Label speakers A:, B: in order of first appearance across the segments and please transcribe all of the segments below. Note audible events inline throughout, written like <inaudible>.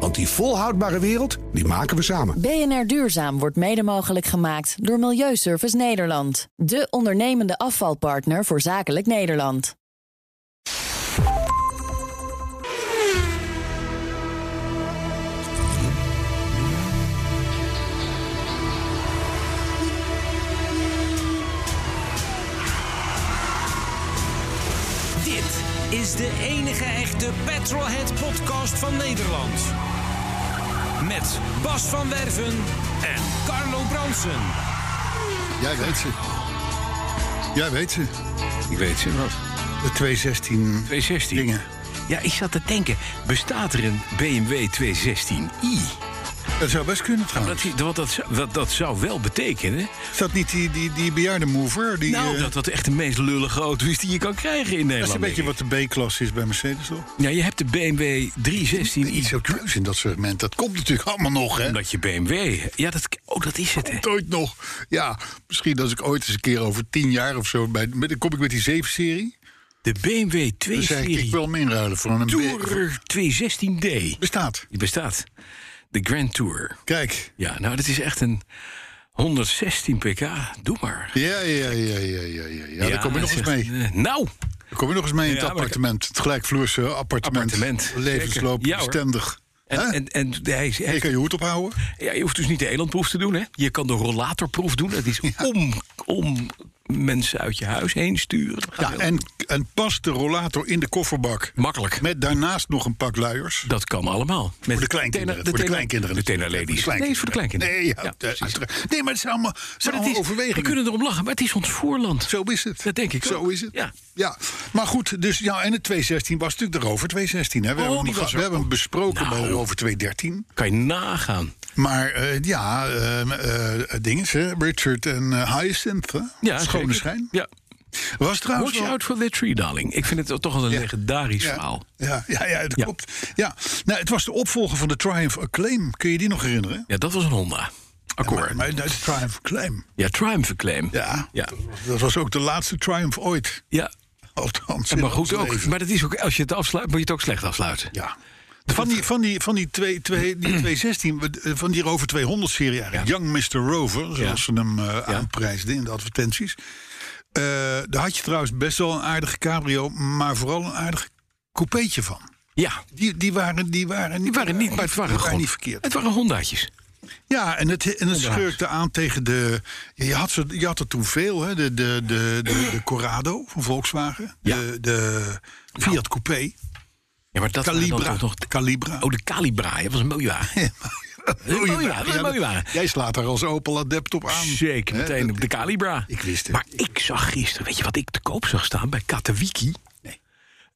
A: Want die volhoudbare wereld, die maken we samen.
B: BNR Duurzaam wordt mede mogelijk gemaakt door Milieuservice Nederland. De ondernemende afvalpartner voor zakelijk Nederland.
C: Dit is de enige echte Petrolhead podcast van Nederland. Met Bas van Werven en Carlo Bronsen.
D: Jij weet ze. Jij weet ze.
E: Ik weet ze wat.
D: De 216
E: 216.
D: dingen.
E: Ja, ik zat te denken, bestaat er een BMW 216i?
D: Dat zou best kunnen
E: Dat,
D: trouwens.
E: dat, dat, dat, dat zou wel betekenen
D: Is dat niet die, die, die bejaarde mover? Die,
E: nou,
D: eh,
E: dat dat echt de meest lullige auto is die je kan krijgen in
D: dat is
E: Nederland.
D: een beetje
E: denk
D: wat de B-klasse is bij Mercedes, toch?
E: ik. Ja, je hebt de BMW 316i.
D: Niet zo kruis in dat segment. Dat komt natuurlijk allemaal nog, hè?
E: Omdat je BMW... Ja, dat, oh, dat is het, hè.
D: Komt ooit nog. Ja, misschien als ik ooit eens een keer over tien jaar of zo... Bij, met, dan kom ik met die 7-serie.
E: De BMW
D: Dan zeg ik, ik
E: 2-serie
D: wil hem inruilen voor een... B-
E: Tourer 216D.
D: Bestaat.
E: Die bestaat. De Grand Tour.
D: Kijk.
E: Ja, nou, dat is echt een 116 pk. Doe maar.
D: Ja, ja, ja, ja, ja, ja. ja, daar kom je nog
E: dat
D: eens
E: is
D: mee.
E: echt, eh, nou,
D: Daar kom je nog eens mee in het
E: Ja, maar ik-
D: appartement. Het gelijkvloerse appartement.
E: Appartement, zeker.
D: Levensloop,
E: Ja, hoor.
D: bestendig.
E: en,
D: Hè?
E: en, en hij, is- hij
D: Je
E: is-
D: kan je hoed ophouden.
E: ja, je hoeft dus niet de elandproef te doen. Hè? Je kan de rollatorproef doen.
D: <laughs>
E: Dat is om, om mensen uit je huis heen sturen. Gaat
D: Ja,
E: heel
D: en, en pas de rollator in de kofferbak.
E: makkelijk.
D: Met daarnaast nog een pak luiers.
E: dat kan allemaal. Met
D: Voor de
E: tena-
D: kleinkinderen. voor de
E: tena-
D: kleinkinderen.
E: De
D: natuurlijk.
E: tena-ladies.
D: Voor de
E: Nee, is voor de kleinkinderen.
D: Nee, ja,
E: Ja,
D: eh,
E: precies.
D: uiteraard. nee maar het zijn allemaal, het zijn
E: Maar dat
D: allemaal
E: is, we
D: overwegingen.
E: kunnen erom lachen, maar het is ons voorland.
D: Zo is het.
E: Dat denk ik
D: Zo
E: ook.
D: is het.
E: Ja.
D: ja. Maar goed, dus, ja, en het 216 was natuurlijk de Rover 216. Hè. We,
E: Oh,
D: hebben, hem
E: die
D: gehad.
E: was er
D: we hebben hem besproken
E: Nou.
D: bij de Rover 213.
E: Kan je nagaan.
D: Maar eh, ja, ehm eh, dinges, hè. Richard en eh, Hyacinth. Hè.
E: Ja,
D: Schone
E: zeker.
D: schijn.
E: Ja.
D: Was trouwens
E: Watch
D: wel-
E: out for the tree, darling. Ik vind het toch wel een
D: Nou, Ja.
E: legendarisch
D: Ja.
E: verhaal.
D: Ja, ja, ja, dat
E: Ja.
D: klopt. Ja. Nou, het was de opvolger van de Triumph Acclaim. Kun je die nog herinneren?
E: Ja, dat was een Honda. Akkoord.
D: Maar, maar de Triumph Acclaim.
E: Ja, Triumph Acclaim.
D: Ja,
E: Ja.
D: Dat, was, dat was ook de laatste Triumph ooit. <laughs>
E: ja.
D: Althans,
E: En
D: in
E: maar
D: ons
E: goed ook.
D: leven.
E: Maar dat is ook, als je het afsluit, moet je het ook slecht afsluiten.
D: Ja. Van die, van die, van die, twee, twee, die 216, we- eh, van die Rover 200 serie eigenlijk.
E: Ja.
D: Young Mr. Rover, zoals
E: Ja.
D: ze hem eh, aanprijsden in de advertenties. Eh, daar had je trouwens best wel een aardige cabrio, maar vooral een aardig coupeetje van.
E: Ja.
D: Die, die, waren, die waren niet, eh,
E: Die waren niet, maar het waren
D: die
E: gewoon...
D: niet verkeerd.
E: Het waren Hondaatjes.
D: Ja, en het, en het
E: Onderhoud.
D: scheurde aan tegen de. ja, Je had, ze, je had er toen veel, hè? De, de, de, de, de Corrado van Volkswagen.
E: Ja.
D: De, de Fiat Coupé.
E: Ja, maar dat waren dan
D: Calibra.
E: toch nog...
D: Calibra.
E: Oh, de Calibra. ja, Dat was een mooie wagen.
D: Mooie wagen.
E: mooie wagen, dat is een mooie
D: Ja,
E: wagen.
D: Jij slaat daar als Opel-adept op aan.
E: Zeker,
D: Hè,
E: meteen
D: dat-
E: op de Calibra.
D: Ik wist het.
E: Maar ik zag gisteren, weet je wat ik te koop zag staan bij Katowiki?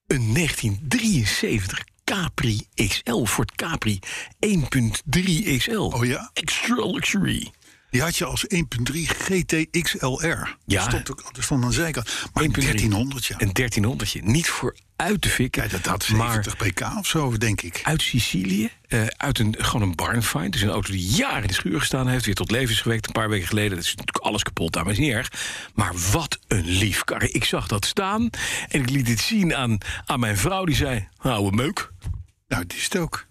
E: Een 1973 Capri XL, Ford Capri 1.3 XL.
D: Oh ja?
E: Extra luxury.
D: Die had je als 1.3 GTXLR.
E: Ja.
D: Dat stond, ook, dat stond aan de zijkant. Maar
E: 1.3.
D: 1300, ja.
E: Een 1300. Niet voor uit te fikken.
D: Ja, dat had
E: maar
D: 70 pk of zo, denk ik.
E: uit Sicilië, eh, uit een, gewoon een barn find. Dus een auto die jaren in de schuur gestaan heeft, weer tot leven is gewekt een paar weken geleden. Dat is natuurlijk alles kapot daar, maar is niet erg. Maar wat een lief kar. Ik zag dat staan en ik liet het zien aan, aan mijn vrouw. Die zei, ouwe meuk.
D: Nou, die is het ook.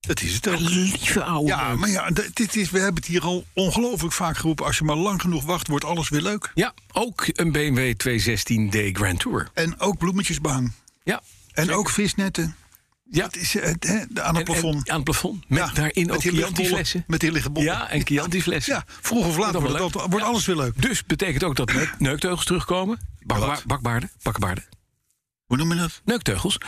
D: Dat is het ook.
E: Een lieve ouwe
D: Ja,
E: meuk.
D: maar ja, d- dit is, we hebben het hier al ongelooflijk vaak geroepen. Als je maar lang genoeg wacht, wordt alles weer leuk.
E: Ja, ook een BMW 216D Grand Tour.
D: En ook bloemetjesbaan.
E: Ja.
D: En ook visnetten.
E: ja.
D: Het is, eh, het, hè, de- aan het
E: En- en
D: plafond.
E: aan het plafond. Met
D: Ja,
E: daarin
D: met
E: ook
D: die
E: Chianti
D: lichtbollen.
E: flessen.
D: Met die lichtbollen.
E: Ja, en Chianti flessen.
D: Ja, vroeg of laat
E: Dat
D: wordt,
E: wordt
D: het
E: leuk.
D: altijd- wordt
E: Ja.
D: alles weer leuk.
E: Dus betekent ook
D: <clears throat>
E: dat neuk- neukteugels terugkomen. Bakba-
D: Wat?
E: bakbaarden, bakkenbaarden.
D: Hoe noem je dat?
E: neukteugels.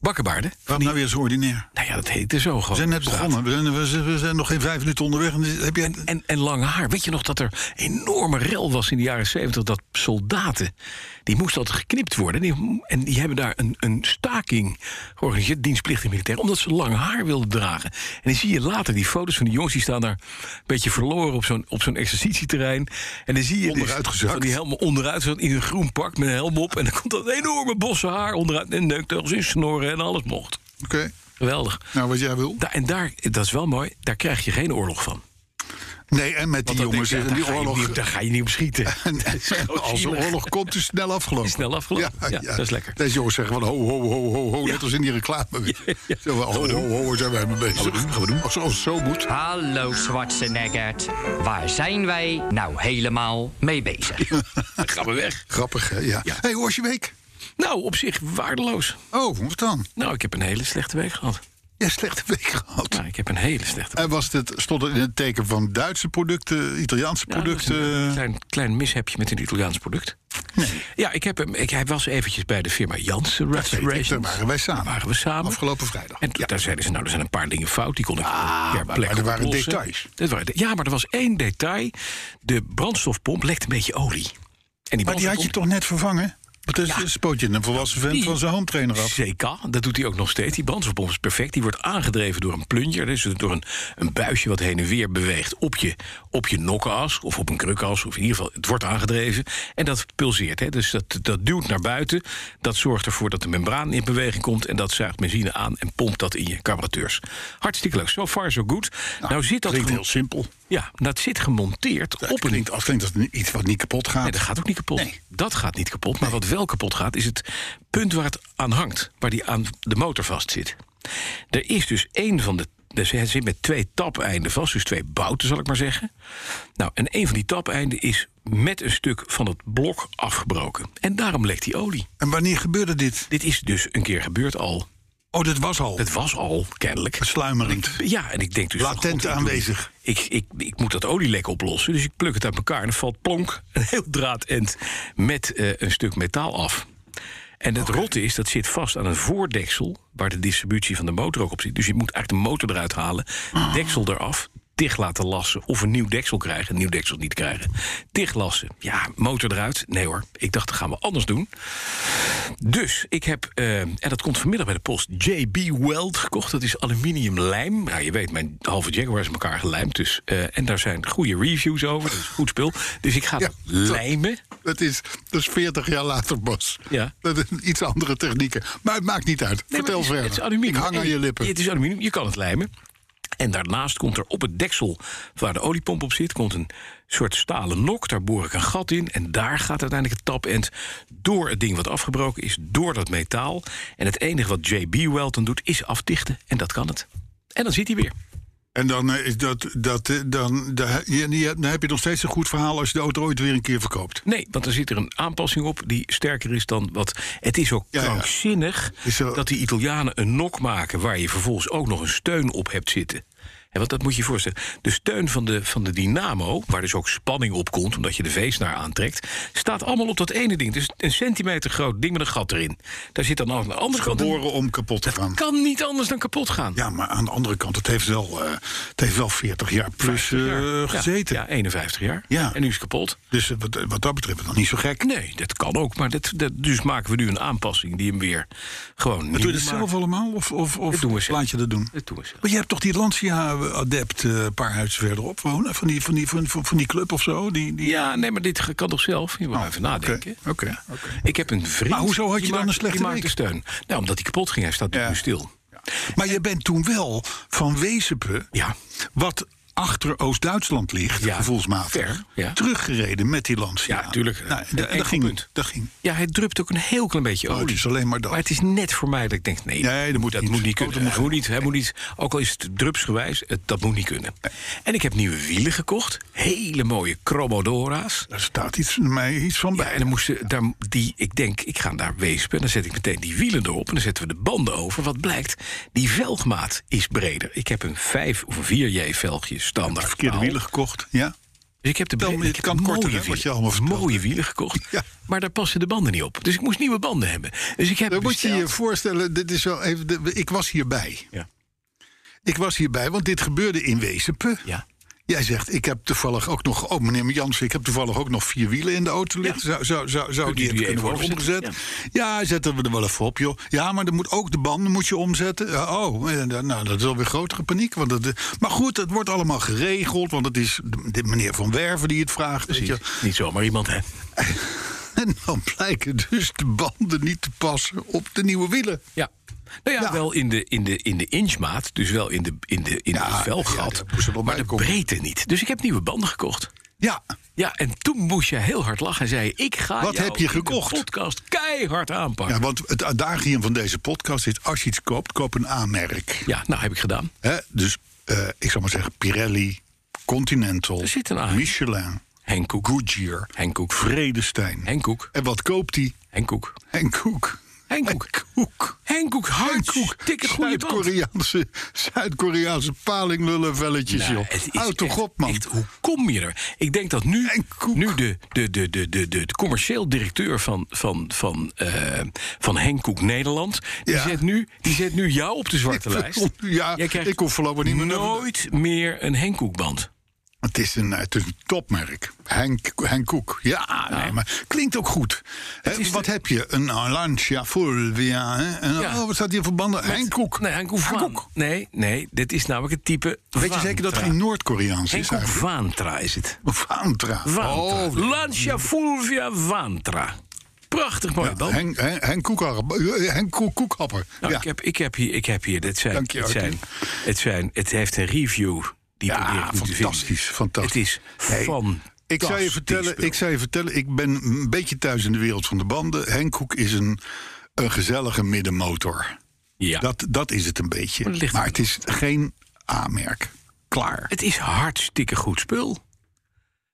E: Bakkenbaarden. Van
D: Waarom
E: die-
D: nou weer zo ordinair?
E: nou ja, dat heette zo gewoon.
D: We zijn net
E: op straat.
D: begonnen. We zijn, we zijn- we zijn nog geen vijf minuten onderweg. En heb jij...
E: En, en lang haar. Weet je nog dat er enorme rel was in de jaren zeventig... dat soldaten, die moesten altijd geknipt worden. Die- en die hebben daar een, een staking georganiseerd, dienstplichtig militair... omdat ze lang haar wilden dragen. En dan zie je later die foto's van die jongens... die staan daar een beetje verloren op zo'n, op zo'n exercitieterrein. En dan zie je
D: Onderuitgezakt.
E: van die helmen onderuit... zo in een groen pak met een helm op. En dan komt dat enorme bosse haar onderuit. En neukteugels in snoren en alles mocht.
D: Oké,
E: Geweldig.
D: nou wat jij wil.
E: Da- en daar, dat is wel mooi, daar krijg je geen oorlog van.
D: Nee, en met die
E: Want dan
D: jongens
E: denk
D: en
E: je, ja,
D: die
E: eh, daar ga je
D: oorlog.
E: niet- Daar ga je niet op <laughs> schieten.
D: Nee, <laughs> als de
E: zielig.
D: oorlog komt, is snel afgelopen.
E: Is snel afgelopen. Ja, dat is lekker.
D: Deze jongens zeggen van ho, ho, ho, ho, ho. Net als in die reclame.
E: <laughs>
D: Zo van, ho, ho, ho, zijn wij mee bezig. Gaan we doen. Als als het zo moet.
F: Hallo Schwarzenegger, waar zijn wij nou helemaal mee bezig?
E: Dan gaan we weg.
D: Grappig, hè? Ja. Hé, hey, hoe was je week?
E: Nou, op zich waardeloos.
D: Oh, wat dan?
E: Nou, ik heb een hele slechte week gehad.
D: Ja, slechte week gehad.
E: Nou, ik heb een hele slechte week.
D: En was dit, stond het in het teken van Duitse producten, Italiaanse
E: Nou, dat is
D: producten?
E: een klein, klein mishapje met een Italiaans product. Ja, ik heb hem. Ik, hij was eventjes bij de firma Janssen
D: weet ik,
E: Restorations.
D: daar waren wij samen.
E: Daar waren we samen.
D: Afgelopen vrijdag.
E: En toen- daar zeiden ze, nou, er zijn een paar dingen fout. Die kon ik per plek
D: maar er waren
E: oplossen.
D: details.
E: Dat waren de- ja, maar er was één detail. De brandstofpomp lekte een beetje olie. En
D: maar die had je
E: die brandstofpomp-
D: toch net vervangen? Want dat is een spootje een volwassen vent
E: Die-
D: van zijn handtrainer af.
E: Zeker, dat doet hij ook nog steeds. Die brandstofpomp is perfect. Die wordt aangedreven door een plunger. Dus door een, een buisje wat heen en weer beweegt op je, op je nokkenas. Of op een krukas. Of in ieder geval, het wordt aangedreven. En dat pulseert. Hè? Dus dat, dat duwt naar buiten. Dat zorgt ervoor dat de membraan in beweging komt. En dat zuigt benzine aan en pompt dat in je carburateurs. Hartstikke leuk. So far, so good. Nou, zit dat,
D: Klinkt
E: gemo-
D: heel simpel.
E: ja, dat zit gemonteerd
D: Dat
E: op een
D: klinkt, als klinkt als iets wat niet kapot gaat.
E: Nee, dat gaat ook niet kapot.
D: Nee.
E: Dat gaat niet kapot. Maar wat wel kapot gaat, is het punt waar het aan hangt. Waar die aan de motor vast zit. Er is dus één van de... Dus hij zit met twee tapeinden vast, dus twee bouten zal ik maar zeggen. Nou, en één van die tapeinden is met een stuk van het blok afgebroken. En daarom lekt die olie.
D: En wanneer gebeurde dit?
E: Dit is dus een keer gebeurd al.
D: Oh, dat was al.
E: Het was al, kennelijk.
D: Sluimerend.
E: Ja, en ik denk dus... van,
D: Latent
E: ik doe-
D: aanwezig.
E: Ik, ik, ik moet dat olielek oplossen, dus ik pluk het uit elkaar... en dan valt plonk een heel draadend met eh, een stuk metaal af. En het rotte is, dat zit vast aan een voordeksel... waar de distributie van de motor ook op zit. Dus je moet eigenlijk de motor eruit halen, deksel eraf... Tig laten lassen of een nieuw deksel krijgen. Een nieuw deksel niet krijgen. Tig lassen. Ja, motor eruit. Nee hoor. Ik dacht, dat gaan we anders doen. Dus ik heb, eh, en dat komt vanmiddag bij de post, JB Weld gekocht. Dat is aluminiumlijm. Nou, je weet, mijn halve Jaguar is aan elkaar gelijmd. Dus, eh, en daar zijn goede reviews over. Dat is goed spul. Dus ik ga
D: Ja,
E: dat lijmen.
D: Dat is, dat is 40 jaar later, Bas.
E: Ja.
D: Dat is iets andere technieken. Maar het maakt niet uit.
E: Nee, maar
D: Vertel
E: het is,
D: verder.
E: Het is aluminium.
D: Ik hang aan je lippen.
E: Het is aluminium, je kan het lijmen. En daarnaast komt er op het deksel waar de oliepomp op zit... komt een soort stalen nok, daar boor ik een gat in... en daar gaat uiteindelijk het tapend door het ding wat afgebroken is... door dat metaal. En het enige wat JB Welton doet, is afdichten. En dat kan het. En dan zit hij weer.
D: En dan, eh, is dat, dat, eh, dan, de- je- je- dan heb je nog steeds een goed verhaal als je de auto ooit weer een keer verkoopt.
E: Nee, want er zit er een aanpassing op die sterker is dan wat... Het is ook
D: Ja, ja.
E: krankzinnig
D: Is er-
E: dat die Italianen een nok maken... waar je vervolgens ook nog een steun op hebt zitten. En want dat moet je je voorstellen. De steun van de, van de dynamo, waar dus ook spanning op komt... omdat je de veesnaar aantrekt, staat allemaal op dat ene ding. Dus een centimeter groot ding met een gat erin. Daar zit dan aan de andere kant... een-
D: Geboren om kapot te gaan.
E: Kan niet anders dan kapot gaan.
D: Ja, maar aan de andere kant, het heeft wel, eh, het heeft wel 40 jaar plus
E: 50 jaar.
D: eh,
E: Ja,
D: gezeten.
E: Ja, 51 jaar.
D: Ja.
E: En nu is het kapot.
D: Dus eh, wat, wat dat betreft, dan niet zo gek.
E: Nee, dat kan ook. Maar dat, dat, dus maken we nu een aanpassing die hem weer gewoon nieuw
D: Doe je dat
E: maakt.
D: zelf allemaal? Of, of, of
E: Dat doen we zelf.
D: laat je dat doen?
E: Dat doen we zelf.
D: Maar je hebt toch die Lancia-adept eh, een paar huizen verderop wonen? Van die, van die, van, van, van die club of zo? Die, die...
E: Ja, nee, maar dit kan toch zelf? Je moet maar even nadenken.
D: Oh, oké, oké,
E: Ja. Ik heb een vriend.
D: Maar hoezo had je
E: die
D: dan
E: maakt-
D: een slechte
E: die maakt
D: week?
E: de steun. Nou, omdat hij kapot ging. Hij staat
D: Ja.
E: nu stil.
D: Maar je bent toen wel van Wezenpe,
E: Ja.
D: wat achter Oost-Duitsland ligt,
E: Ja,
D: gevoelsmatig,
E: ver, ja.
D: teruggereden met die Lancia.
E: Ja, tuurlijk.
D: Nou,
E: Een
D: dat-
E: enkel
D: dat, ging,
E: punt.
D: dat ging.
E: Ja, hij drupt ook een heel klein beetje
D: Oh,
E: olie.
D: het is alleen maar dat.
E: Maar het is net voor mij dat ik denk, nee,
D: Nee, dat moet niet.
E: moet niet
D: Oh, dat
E: kunnen.
D: moet
E: Hij moet niet, hij moet niet, ook al is het drupsgewijs, het, dat moet niet kunnen. En ik heb nieuwe wielen gekocht. Hele mooie Chromodora's.
D: Daar staat iets, mij iets van
E: Ja,
D: bij.
E: en dan moesten daar die, ik denk, ik ga daar weespen. Dan zet ik meteen die wielen erop en dan zetten we de banden over. Wat blijkt, die velgmaat is breder. Ik heb een 5 of een 4J velgje standaard.
D: Verkeerde
E: paal.
D: wielen gekocht, ja.
E: Dus ik heb de
D: Tel me,
E: bre-
D: het
E: ik
D: kan
E: heb
D: korter,
E: mooie
D: hè, wat
E: wielen-
D: je allemaal vertelt.
E: Mooie wielen gekocht.
D: Ja.
E: Maar daar passen de banden niet op. Dus ik moest nieuwe banden hebben. Dus ik heb
D: Dan moet je je
E: besteld-
D: voorstellen, dit is wel even, de- ik was hierbij.
E: Ja.
D: Ik was hierbij, want dit gebeurde in Wezenpe.
E: Ja.
D: Jij zegt, ik heb toevallig ook nog... Oh, meneer Jansen, ik heb toevallig ook nog vier wielen in de auto liggen. Zou, zou, zou, zou
E: Kunt
D: die
E: u die
D: hebben kunnen
E: even
D: worden omgezet?
E: overzetten?
D: Ja. zetten we er wel even op, joh. Ja, maar dan moet ook de banden moet je omzetten. Ja, Oh, eh, nou, dat is alweer grotere paniek. Want dat, eh, maar goed, het wordt allemaal geregeld. Want het is de, de meneer Van Werven die het vraagt. weet je.
E: Precies. Niet zomaar iemand, hè?
D: <laughs> En dan blijken dus de banden niet te passen op de nieuwe wielen.
E: Ja. Nou ja,
D: Ja.
E: wel in de, in, de, in de inchmaat, dus wel in, de, in, de, in
D: Ja,
E: het
D: ja,
E: velgat,
D: daar moest er wel
E: maar
D: bij
E: de
D: komen.
E: breedte niet. Dus ik heb nieuwe banden gekocht.
D: Ja,
E: Ja, en toen moest je heel hard lachen en zei je, ik ga
D: Wat
E: jou
D: heb je
E: in de
D: gekocht?
E: podcast keihard aanpakken.
D: ja,
E: Ja.
D: want het adagium van deze podcast is... als je iets koopt, koop een aanmerk.
E: nou heb ik gedaan.
D: Hè, dus eh, ik zou maar zeggen Pirelli, Continental,
E: Er zit een aan.
D: Michelin,
E: Henk Koek.
D: Goodyear,
E: Henk Koek.
D: Vredestein.
E: Henk Koek.
D: En wat koopt hij?
E: Henk Koek.
D: Henk Koek.
E: Henk Koek. Henk Koek. Henk Koek. Tik het goede band.
D: Zuid-Koreaanse Zuid palinglullenvelletjes,
E: Nou,
D: joh.
E: het is
D: Houd toch
E: echt-
D: op, man.
E: echt, hoe kom je er? Ik denk dat nu,
D: En koek.
E: nu de, de, de, de, de, de, de commercieel directeur van, van, van, eh, van Henk Koek Nederland... Die,
D: Ja.
E: zet nu, die zet nu jou op de zwarte
D: Ik
E: lijst.
D: kom- ja,
E: Jij krijgt
D: ik kom voorlopig niet meer naar-
E: nooit meer een Henk Koekband.
D: Het is een, het is een topmerk. Henk, Henk Koek. Ja, Nee, maar klinkt ook goed. Hè,
E: Nou. is
D: wat
E: de-
D: heb je? Een Lancia Fulvia. hè? En,
E: Ja.
D: Oh, wat staat hier voor banden? Henk Koek.
E: Nee, Henk Koek Vaan. Nee, nee, dit is namelijk het type
D: Weet je zeker dat het geen Noord-Koreaans
E: Henk
D: is
E: Koek
D: eigenlijk?
E: Vaantra is het.
D: Vaantra.
E: Vaantra.
D: Oh,
E: Lancia Fulvia Vaantra. Prachtig mooi band.
D: Oh, Henk, Henk, Henk Koekhapper. Eh, Henk Koek, Koekhapper.
E: Nou,
D: ja.
E: ik, heb, ik, heb hier, ik heb hier, dit zijn,
D: Dank je,
E: het,
D: Arthur.
E: zijn, het zijn, het heeft een review. Die
D: Ja,
E: probeer ik nu te
D: fantastisch,
E: vinden.
D: fantastisch.
E: Het is
D: Nee,
E: van.
D: Ik zou, je vertellen, ik zou je vertellen, ik ben een beetje thuis in de wereld van de banden. Henk Koek is een, een gezellige middenmotor.
E: ja.
D: Dat, dat is het een beetje.
E: Maar dat ligt
D: maar
E: er-
D: het is geen A-merk. Klaar.
E: Het is hartstikke goed spul.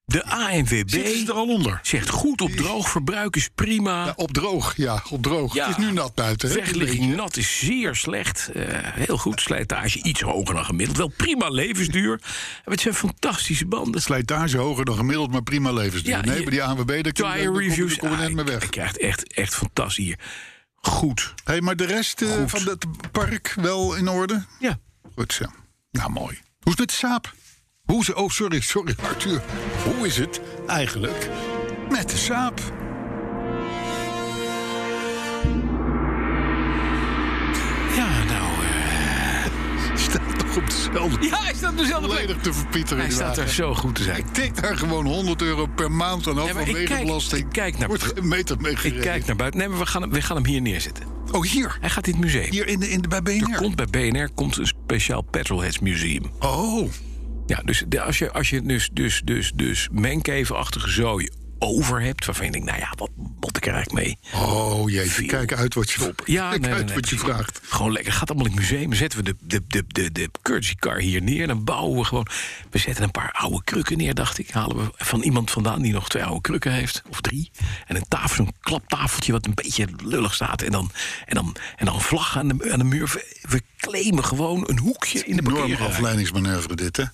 E: De
D: Zitten
E: ANWB
D: ze er al onder?
E: zegt goed op droog, verbruik is prima.
D: Ja, op droog, ja, op droog.
E: Ja.
D: Het is nu nat buiten. hè?
E: Wegligging nat is zeer slecht. Eh, heel goed, slijtage iets hoger dan gemiddeld. Wel prima levensduur. En het zijn fantastische banden.
D: Slijtage hoger dan gemiddeld, maar prima levensduur.
E: Ja,
D: nee,
E: je-
D: maar die ANWB, daar kom, daar
E: Tire
D: kom-
E: reviews. Ah,
D: daar kom je net mee weg.
E: Ik krijg echt, echt fantastisch hier. Goed.
D: Hey, maar de rest eh,
E: Goed.
D: van het park wel in orde?
E: Ja.
D: Goed zo. Nou, mooi. Hoe is het met de saap? Hoe is, oh, sorry, sorry, Arthur. Hoe is het eigenlijk met de saap?
E: Ja, nou. eh,
D: Staat toch op dezelfde
E: Ja, hij staat op dezelfde plek.
D: volledig te verpieteren.
E: Hij
D: die
E: staat er
D: wagen.
E: zo goed te zijn.
D: Ik tik daar gewoon 100 euro per maand aan af
E: Ja, maar
D: van
E: ik kijk-
D: wegenbelasting.
E: ik kijk naar-
D: Wordt geen meter mee
E: Ik
D: gereden.
E: kijk naar buiten. Nee, maar we gaan, hem- we gaan hem hier neerzetten.
D: Oh, hier.
E: Hij gaat dit museum.
D: Hier in de, in de, bij BNR.
E: Er komt bij BNR komt een speciaal Petrolheads Museum.
D: Oh,
E: Ja, dus de- als je, als je dus, dus, dus, dus menkevenachtige zooi over hebt... waarvan je denkt, nou ja, wat moet ik er eigenlijk mee?
D: oh jeetje. Kijk uit wat je, <laughs>
E: Ja,
D: kijk
E: nee, nee,
D: uit
E: nee,
D: wat je
E: precies.
D: vraagt.
E: Gewoon lekker. Gaat allemaal in het museum. Zetten we de, de, de, de, de courtesy car hier neer. Dan bouwen we gewoon. We zetten een paar oude krukken neer, dacht ik. Halen we van iemand vandaan die nog twee oude krukken heeft. Of drie. En een tafel, zo'n klaptafeltje wat een beetje lullig staat. En dan, en dan, en dan een vlag aan de, aan de muur. We, we claimen gewoon een hoekje in de
D: Enorme
E: parkeergarage.
D: afleidingsmanoeuvre dit, hè?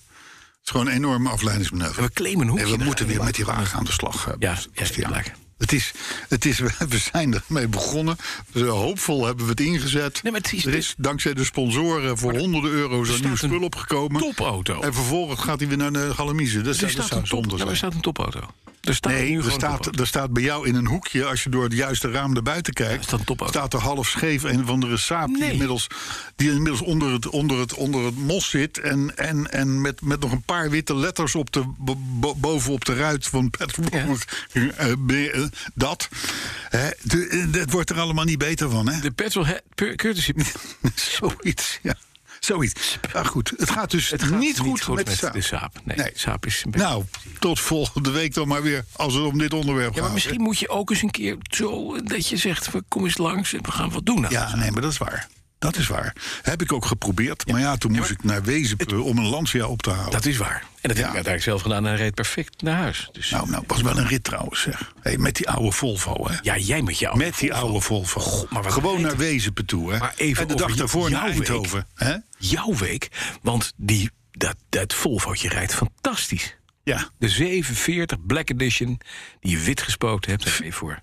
D: Het is gewoon een enorme afleidingsmanoeuvre.
E: We claimen een hoekje.
D: En we
E: daar
D: moeten
E: in de
D: weer met
E: wagen.
D: die wagen aan de slag. eh,
E: Ja, ja,
D: Bastiaan.
E: ja, blijkbaar.
D: het is, het is, <laughs> we zijn ermee begonnen. Dus hoopvol hebben we het ingezet.
E: Nee, maar het is-
D: er is dankzij de sponsoren voor honderden euro's een
E: staat
D: nieuw
E: een
D: spul opgekomen.
E: topauto.
D: En vervolgens gaat hij weer naar de Galamise. Dat
E: Er
D: zou dat
E: staat,
D: zou
E: een top,
D: zonde
E: nou,
D: zijn.
E: er staat een topauto. Er staat nu
D: Nee, er
E: gewoon een
D: staat,
E: topauto.
D: er staat bij jou in een hoekje, als je door het juiste raam naar buiten kijkt,
E: er staat een topauto.
D: staat er half scheef een van de saap die
E: Nee.
D: inmiddels, die inmiddels onder, het, onder, het, onder het mos zit. En, en, en met, met nog een paar witte letters op de, bo- bo- bovenop de ruit van Patrick Wood. Eh, be- eh, Dat. Hè, de- eh, Het wordt er allemaal niet beter van, hè?
E: De petrolhead
D: <laughs>
E: courtesy...
D: Zoiets, ja. Zoiets. Maar goed, het gaat dus
E: Het gaat
D: niet, goed, met, de
E: de
D: saap.
E: saap. Nee,
D: Nee.
E: saap is een beetje...
D: Nou, tot volgende week dan maar weer, als het om dit onderwerp
E: Ja,
D: gaat.
E: maar misschien moet je ook eens een keer zo eh, dat je zegt: we kom eens langs en we gaan wat doen. Nou.
D: Ja, nee, maar dat is waar. Dat is waar. Heb ik ook geprobeerd. Maar ja, toen moest ik naar Wezenp eh, om een Lancia op te halen.
E: Dat is waar.
D: Ja.
E: En dat heb ik uiteindelijk zelf gedaan en hij reed perfect naar huis. Dus,
D: Nou, nou, was wel een rit trouwens, zeg. Hey, met die oude Volvo, hè.
E: ja, jij met jou.
D: Met die oude Volvo.
E: maar wat
D: Gewoon
E: rijdt
D: naar
E: het?
D: Wezenpen toe, hè.
E: Maar even
D: en de dag
E: over
D: daarvoor naar
E: jouw week.
D: Eindhoven. Hè?
E: Jouw week. Want die, dat, dat Volvootje rijdt fantastisch.
D: Ja.
E: De 740 Black Edition, die je wit gespookt hebt, daar ben je voor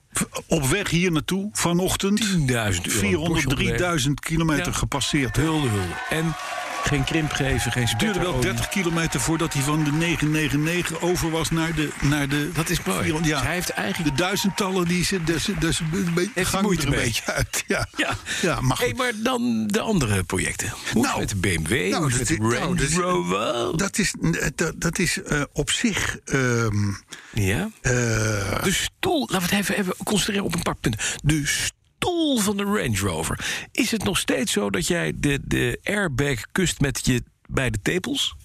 D: Op weg hier naartoe vanochtend.
E: 10.000 euro.
D: 403.000 kilometer
E: Ja.
D: gepasseerd.
E: Hulde, hulde. En geen krimp geven, geen
D: Het duurde wel 30 kilometer voordat hij van de 999 over was naar de... Naar de
E: Dat is mooi.
D: Ja.
E: Dus hij heeft eigenlijk...
D: De duizendtallen, die ze, dus, dus,
E: hij
D: gang
E: moeite
D: er een
E: mee?
D: beetje uit. Ja,
E: Ja,
D: ja maar goed.
E: Hey, maar dan de andere projecten. Hoe is het
D: Nou,
E: met de BMW,
D: nou,
E: Hoe is het
D: dat
E: met de
D: is- nou,
E: Range
D: dat is-
E: Rover.
D: Dat is, dat, dat is eh, op zich... ehm,
E: Ja.
D: eh,
E: De stoel, laten we het even, even concentreren op een paar punten. De stoel van de Range Rover. Is het nog steeds zo dat jij de, de airbag kust met je bij de tepels?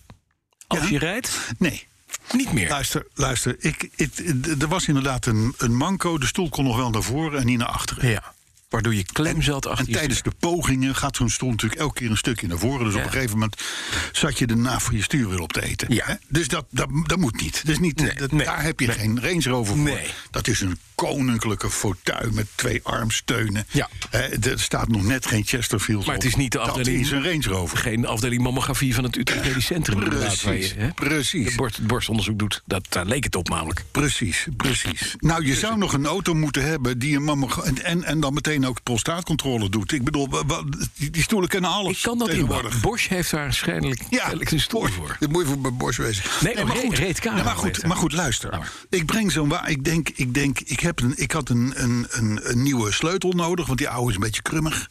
D: Ja.
E: Als
D: Nou,
E: je rijdt?
D: nee,
E: Niet meer.
D: luister, luister. Ik, ik, d- er was inderdaad een, een manco. De stoel kon nog wel naar voren en niet naar achteren.
E: ja. Waardoor je klem zat achter
D: En
E: je
D: tijdens de pogingen gaat zo'n stoel natuurlijk elke keer een stukje naar voren. Dus
E: Ja.
D: op een gegeven moment zat je de naaf van je stuur weer op te eten.
E: Ja.
D: Hè? Dus dat, dat, dat moet niet. Dat is niet
E: Nee,
D: dat-
E: nee.
D: Daar heb je geen Range Rover voor.
E: Nee.
D: Dat is een koninklijke fauteuil met twee armsteunen.
E: Ja.
D: Hè, er staat nog net geen Chesterfield
E: Maar
D: op.
E: het is niet de
D: dat
E: afdeling-
D: is een Range Rover.
E: geen afdeling mammografie van het Utrecht Medisch Centrum. inderdaad, waar
D: Precies,
E: je, hè,
D: precies.
E: de borst, het borstonderzoek doet. Dat, daar leek het op namelijk.
D: Precies, precies. Nou, je zou nog een auto moeten hebben die een mammo... En, en, en dan meteen ook prostaatcontrole doet. Ik bedoel, wa- wa- die, die stoelen kennen alles
E: Ik kan dat
D: tegenwoordig.
E: inbouwen. Bosch heeft daar waarschijnlijk
D: Ja,
E: kennelijk een stoel
D: Bosch.
E: voor.
D: Dat moet je voor bij Bosch wezen.
E: Nee, oh, Re- Reed Karel
D: Ja, maar,
E: heet
D: goed,
E: hij.
D: maar goed, luister.
E: Nou, maar.
D: Ik breng zo'n waar. Ik denk, ik, denk, ik, heb een, ik had een, een, een, een nieuwe sleutel nodig, want die oude is een beetje krummig.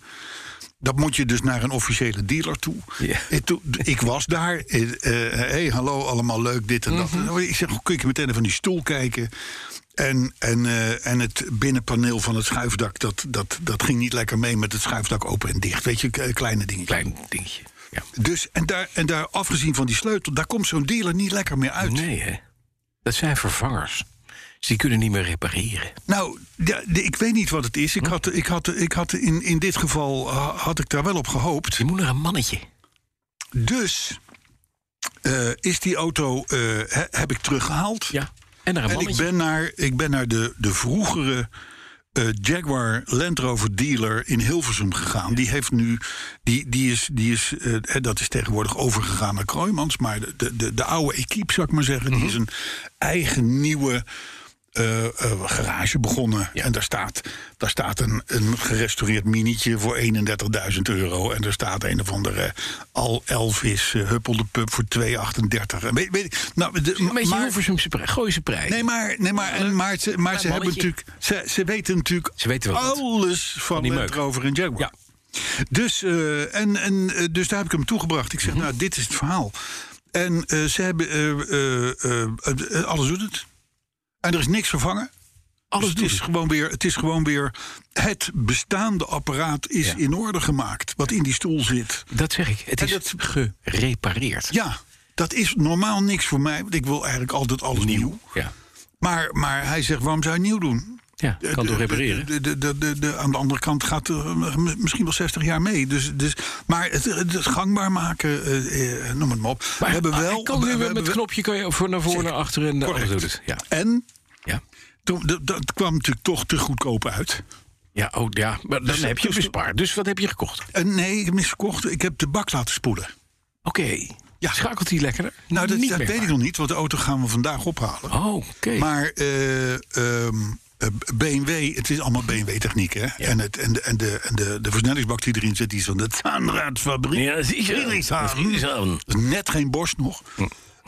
D: Dat moet je dus naar een officiële dealer toe.
E: Ja.
D: Ik, toe- ik was daar. Hé, hey, hallo, allemaal leuk, dit en dat.
E: Mhm.
D: Nou, Ik zeg, kun je meteen even die stoel kijken? En, en, eh, en het binnenpaneel van het schuifdak... Dat, dat, dat ging niet lekker mee met het schuifdak open en dicht. Weet je, k- eh, kleine dingen.
E: Klein dingetje. Ja.
D: Dus, en daar, en daar afgezien van die sleutel, daar komt zo'n dealer niet lekker meer uit.
E: Nee, hè? Dat zijn vervangers. Dus die kunnen niet meer repareren.
D: Nou, ja, de- ik weet niet wat het is.
E: Hm?
D: Ik had, ik had, ik had in, in dit geval ha- had ik daar wel op gehoopt.
E: Je moet naar een mannetje.
D: Dus eh, is die auto eh, he- heb ik teruggehaald.
E: Ja. En naar een
D: En ik
E: mannetje.
D: ben naar, ik ben naar de, de vroegere eh, Jaguar Land Rover dealer in Hilversum gegaan. Die heeft nu, die, die is, die is eh, hè, dat is tegenwoordig overgegaan naar Kroijmans. Maar de, de, de, de oude equipe, zou ik maar zeggen,
E: Mhm.
D: die is een eigen nieuwe. eh, eh, garage begonnen. En daar staat, daar staat een, een gerestaureerd minietje voor 31.000 euro. En er staat een of andere eh, al Elvis eh, Huppel de Pub voor 2,38. En Weet, weet, ik- nou, de,
E: Een beetje
D: maar-
E: Hilversumse prij- Gooise prijs.
D: Nee, maar, nee, maar, en, maar ze, maar ze, hebben
E: mannetje.
D: natuurlijk, ze, ze weten natuurlijk
E: Ze weten wel wat.
D: alles van,
E: die
D: Land
E: meuk.
D: Rover en Jaguar.
E: Ja.
D: Dus, eh, en, en, eh, dus daar heb ik hem toegebracht. Ik zeg,
E: Mhm.
D: nou, dit is het verhaal. En eh, ze hebben eh, eh, eh, eh, eh, alles doet het. En er is niks vervangen.
E: Alles
D: Dus
E: doet
D: het is
E: het.
D: gewoon weer het is gewoon weer het bestaande apparaat is
E: Ja.
D: in orde gemaakt wat in die stoel zit.
E: Dat zeg ik. Het
D: En
E: is
D: dat-
E: gerepareerd.
D: Ja, dat is normaal niks voor mij, want ik wil eigenlijk altijd alles nieuw.
E: Ja.
D: Maar, maar hij zegt waarom zou je nieuw doen?
E: Ja, kan toch repareren?
D: De, de, de, de, de- aan de andere kant gaat er eh, misschien wel 60 jaar mee. Dus, dus, maar het, het het gangbaar maken, eh, eh, noem het maar op.
E: Maar
D: we hebben wel.
E: kan nu
D: we
E: weer
D: hebben
E: met
D: wel-
E: knopje kan je voor naar voren, naar achteren en alles
D: Correct.
E: doet het. Ja.
D: En
E: Ja.
D: toen, dat, dat kwam natuurlijk toch te goedkoop uit.
E: Ja, oh, ja, maar dan heb je bespaard. Dus wat heb je gekocht? Oké.
D: En nee, ik heb misverkocht. Ik heb de bak laten spoelen.
E: Ja. Schakelt hij lekkerder?
D: Nou, dat,
E: Niet
D: dat
E: meer
D: weet ik nog niet, want de auto gaan we vandaag ophalen.
E: waar. Oh, oké.
D: Maar eh, ehm, eh, BMW, het is allemaal BMW-techniek, hè? En, het, en, de, en, de, en de, de versnellingsbak die erin zit, die is van de Zaanraadfabriek.
E: Ja, dat is aan.
D: Dat is net geen borst nog.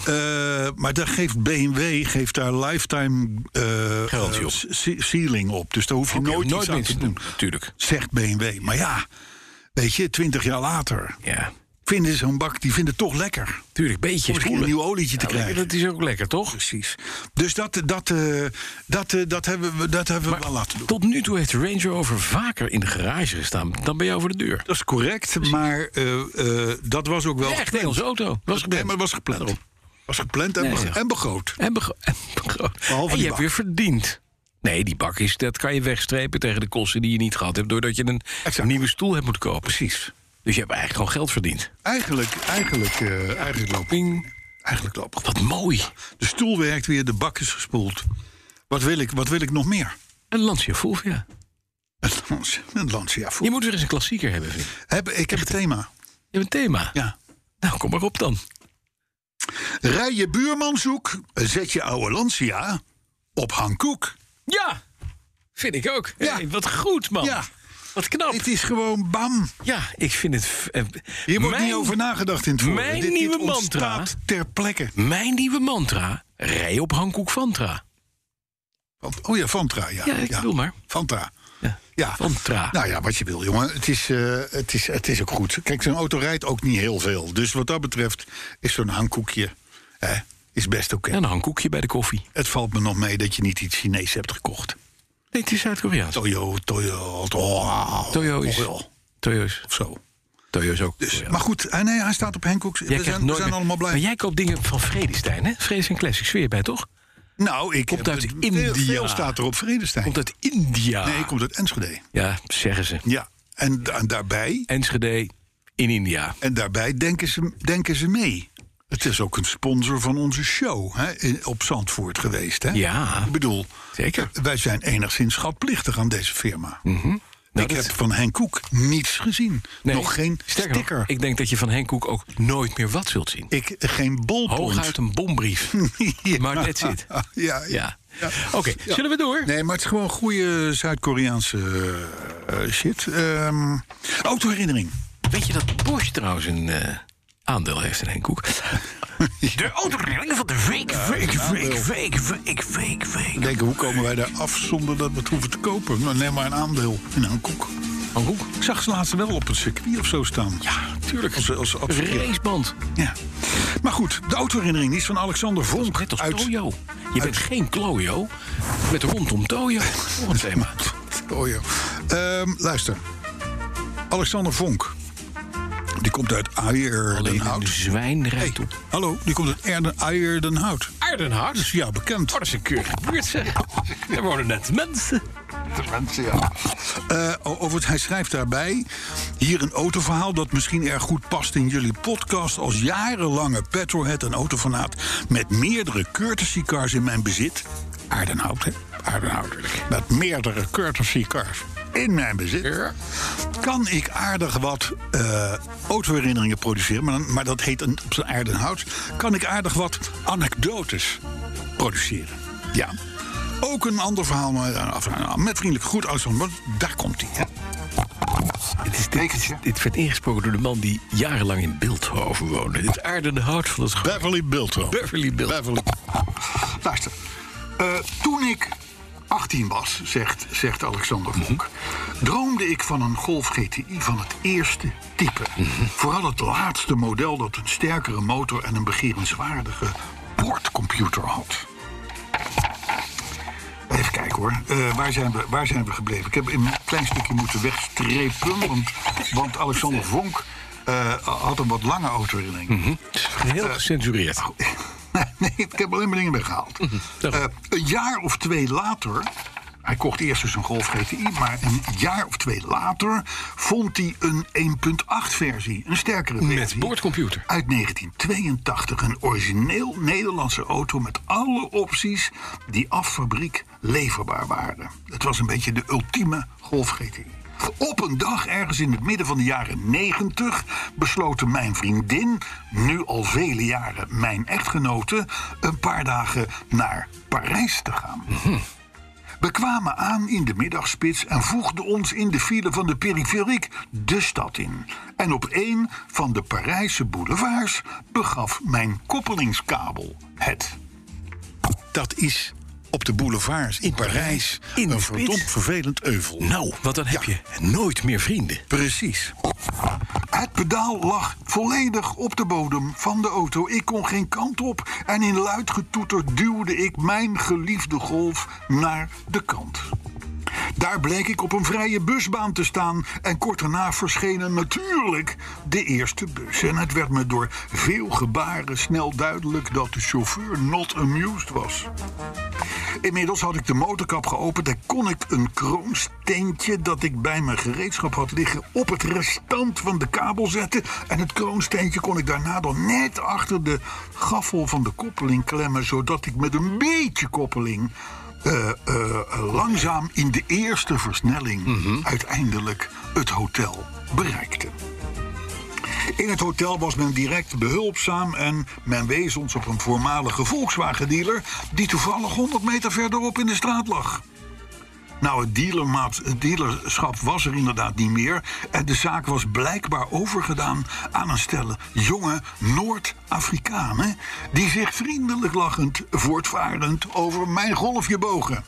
D: Eh, maar daar geeft BMW geeft daar lifetime eh,
E: Garantie op.
D: eh, ce- ceiling op. Dus daar hoef je nooit, iets aan
E: meer
D: te
E: te
D: doen.
E: doen. Tuurlijk.
D: Zegt BMW. Maar ja, weet je, twintig jaar later
E: Ja.
D: vinden ze zo'n bak, die vinden het toch lekker.
E: Tuurlijk, beetje
D: Om misschien een
E: spoelen.
D: nieuw olietje te
E: Ja,
D: krijgen.
E: Dat is ook lekker, toch?
D: Precies. Dus dat, dat, eh, dat, eh, dat hebben we, dat hebben we wel laten doen.
E: Tot nu toe heeft de Range Rover vaker in de garage gestaan dan bij jou voor de deur.
D: Dat is correct, maar eh, eh, dat was ook wel.
E: Echt een Engelse auto. Was
D: Nee, maar
E: gepland.
D: het was gepland.
E: Daarom.
D: Was gepland en,
E: Nee,
D: beg-
E: zeg.
D: en begroot.
E: En, bego- <laughs> en, bego-
D: Behalve
E: en
D: die
E: je hebt
D: bak.
E: weer verdiend. Nee, die bak is, dat kan je wegstrepen tegen de kosten die je niet gehad hebt... doordat je een
D: Exact.
E: nieuwe stoel hebt moeten kopen. Precies. Dus je hebt eigenlijk gewoon geld verdiend.
D: Eigenlijk, eigenlijk, eh, eigenlijk lopen.
E: Ping.
D: Eigenlijk lopen.
E: Wat mooi.
D: De stoel werkt weer, de bak is gespoeld. Wat wil ik, wat wil ik nog meer?
E: Een Lancia Fulvia.
D: Een Lancia- Een Lancia.
E: Je moet weer eens een klassieker hebben, vind ik.
D: Heb, ik heb een thema.
E: Je hebt een thema.
D: Ja.
E: Nou, kom maar op dan.
D: Rij je buurman zoek, zet je oude Lancia op Hankoek.
E: Ja, vind ik ook.
D: Ja.
E: Hey, wat goed, man.
D: Ja.
E: Wat knap.
D: Het is gewoon bam.
E: Ja, ik vind het... f- eh,
D: Hier wordt
E: mijn-
D: niet over nagedacht in het forum.
E: mijn
D: Dit- dit
E: nieuwe
D: ontstaat
E: mantra.
D: ter plekke.
E: Mijn nieuwe mantra, rij op Hankoek Vantra.
D: Want- Oh ja, Vantra. Ja,
E: Ja, ik bedoel maar.
D: Vantra.
E: Ja.
D: Ja.
E: Vantra.
D: Nou ja, wat je wil, jongen. Het is, eh, het is, het is ook goed. Kijk, zo'n auto rijdt ook niet heel veel. Dus wat dat betreft is zo'n hangkoekje hè, is best oké.
E: En een hangkoekje bij de koffie.
D: Het valt me nog mee dat je niet iets Chinees hebt gekocht.
E: Nee, het is Zuid-Koreaans.
D: Toyo, Toyo, Toyo.
E: Toyo is... Oh Toyo is,
D: Of zo.
E: Toyo is ook...
D: Dus,
E: Koreaans.
D: maar goed, ah, nee, hij staat op Henkoeks.
E: Jij
D: We
E: krijgt
D: zijn, we
E: nooit
D: zijn
E: meer-
D: allemaal blij.
E: Maar jij koopt dingen van Vredestein, hè? Vredes en Classics, zweer je bij, toch?
D: nou, ik
E: Komt uit
D: veel-
E: India.
D: Veel staat er op Vredestein.
E: Komt uit India.
D: Nee, komt uit Enschede.
E: Ja, zeggen ze.
D: Ja, en, da- daarbij
E: Enschede in India. Nou,
D: En daarbij denken ze, denken ze mee. Het is ook een sponsor van onze show hè, in- op Zandvoort geweest. Hè?
E: Ja.
D: Ik bedoel, eh,
E: Zeker.
D: wij zijn enigszins schatplichtig aan deze firma.
E: Nou,
D: ik
E: dat-
D: heb van Henk Koek niets gezien.
E: Nee,
D: Nog geen
E: sterker nog,
D: sticker. ik...
E: ik denk dat je van Henk Koek ook nooit meer wat zult zien.
D: geen
E: Hooguit
D: bolpunt.
E: een bombrief.
D: <laughs> Ja.
E: Maar that's it.
D: <laughs> Ja, ja.
E: Ja.
D: Ja.
E: Oké, zullen we door?
D: Nee, maar het is gewoon goede Zuid-Koreaanse eh, shit. Ehm, autoherinnering.
E: Weet je dat Bosch trouwens een eh, aandeel heeft in Henk
D: <laughs>
E: Koek? De autoredding van de week, week, week, week, week, week,
D: Ik
E: week.
D: denk, hoe komen wij daar af zonder dat we het hoeven te kopen? Nou, neem maar een aandeel in Henk Koek.
E: Henk Koek?
D: Ik zag ze laatst wel op het circuit of zo staan.
E: Ja, tuurlijk.
D: Als, als, als-
E: Raceband.
D: ja. Maar goed, de autoherinnering die is van Alexander Vonk.
E: Net als
D: uit
E: Toyo. Je bent geen Klojo, met rondom Toyo.
D: <laughs>
E: Volgend thema.
D: Toyo. Oh, Ehm, luister. Alexander Vonk. Die komt uit
E: Alleen een
D: Eierdenhout.
E: zwijn
D: Hey,
E: rijdt op
D: hallo, die komt uit Eierden- Eierdenhout.
E: Aardenhout.
D: Dat is jou bekend.
E: Oh, dat is een keurige buurt, zeg.
D: <laughs>
E: Er wonen net mensen.
D: Eh, o- over het, hij schrijft daarbij hier een autoverhaal dat misschien erg goed past in jullie podcast als jarenlange petrolhead en autofanaat met meerdere courtesy cars in mijn bezit. Aardenhout, hè? Aardenhout. Met meerdere courtesy cars in mijn bezit. Kan ik aardig wat eh autoherinneringen produceren, maar, dan- maar dat heet een, op zijn Aardenhout. Kan ik aardig wat anekdotes produceren? Ja. Ook een ander verhaal maar daar af- met vriendelijke groet, Alexander. Maar Daar komt hij.
E: Dit, is, dit, is- dit werd ingesproken door de man die jarenlang in Beeldhoven woonde. Dit Aardenhout van het gro-
D: Beverly Biltro.
E: Beverly Beeldhoven.
D: Beverly. Luister. eh, toen ik 18 was, zegt, zegt Alexander Vonk... droomde ik van een Golf GTI van het eerste type. Vooral het laatste model dat een sterkere motor... en een begerenswaardige boordcomputer had. Even kijken hoor. Eh, waar, zijn we, waar zijn we gebleven? Ik heb een klein stukje moeten wegstrepen. Want, want Alexander Vonk eh, had een wat lange autoherinnering.
E: Geheel gecensureerd.
D: <laughs> Nee, ik heb alleen maar dingen weggehaald.
E: dat-
D: Eh, een jaar of twee later. Hij kocht eerst dus een Golf GTI, maar een jaar of twee later vond hij een 1.8 versie. Een sterkere versie.
E: Met boordcomputer.
D: Uit 1982. Een origineel Nederlandse auto met alle opties die af fabriek leverbaar waren. Het was een beetje de ultieme Golf GTI. Op een dag, ergens in het midden van de jaren 90, besloten mijn vriendin, nu al vele jaren mijn echtgenote, een paar dagen naar Parijs te gaan. We kwamen aan in de middagspits en voegden ons in de file van de periferiek de stad in. En op een van de Parijse boulevards begaf mijn koppelingskabel het. Dat is op de boulevards in Parijs
E: in de
D: een
E: spits.
D: verdomd vervelend euvel.
E: Nou, want dan heb
D: Ja.
E: je nooit meer vrienden.
D: Precies. Het pedaal lag volledig op de bodem van de auto. Ik kon geen kant op en in luid getoeter duwde ik mijn geliefde golf naar de kant. Daar bleek ik op een vrije busbaan te staan en kort daarna verschenen natuurlijk de eerste bus. En het werd me door veel gebaren snel duidelijk dat de chauffeur not amused was. Inmiddels had ik de motorkap geopend en kon ik een kroonsteentje dat ik bij mijn gereedschap had liggen op het restant van de kabel zetten. En het kroonsteentje kon ik daarna dan net achter de gaffel van de koppeling klemmen, zodat ik met een beetje koppeling eh, eh, eh, langzaam in de eerste versnelling uiteindelijk het hotel bereikte. In het hotel was men direct behulpzaam en men wees ons op een voormalige Volkswagen-dealer... die toevallig 100 meter verderop in de straat lag. Nou, het dealermaat- het dealerschap was er inderdaad niet meer. En de zaak was blijkbaar overgedaan aan een stel jonge Noord-Afrikanen. die zich vriendelijk lachend, voortvarend over mijn golfje bogen.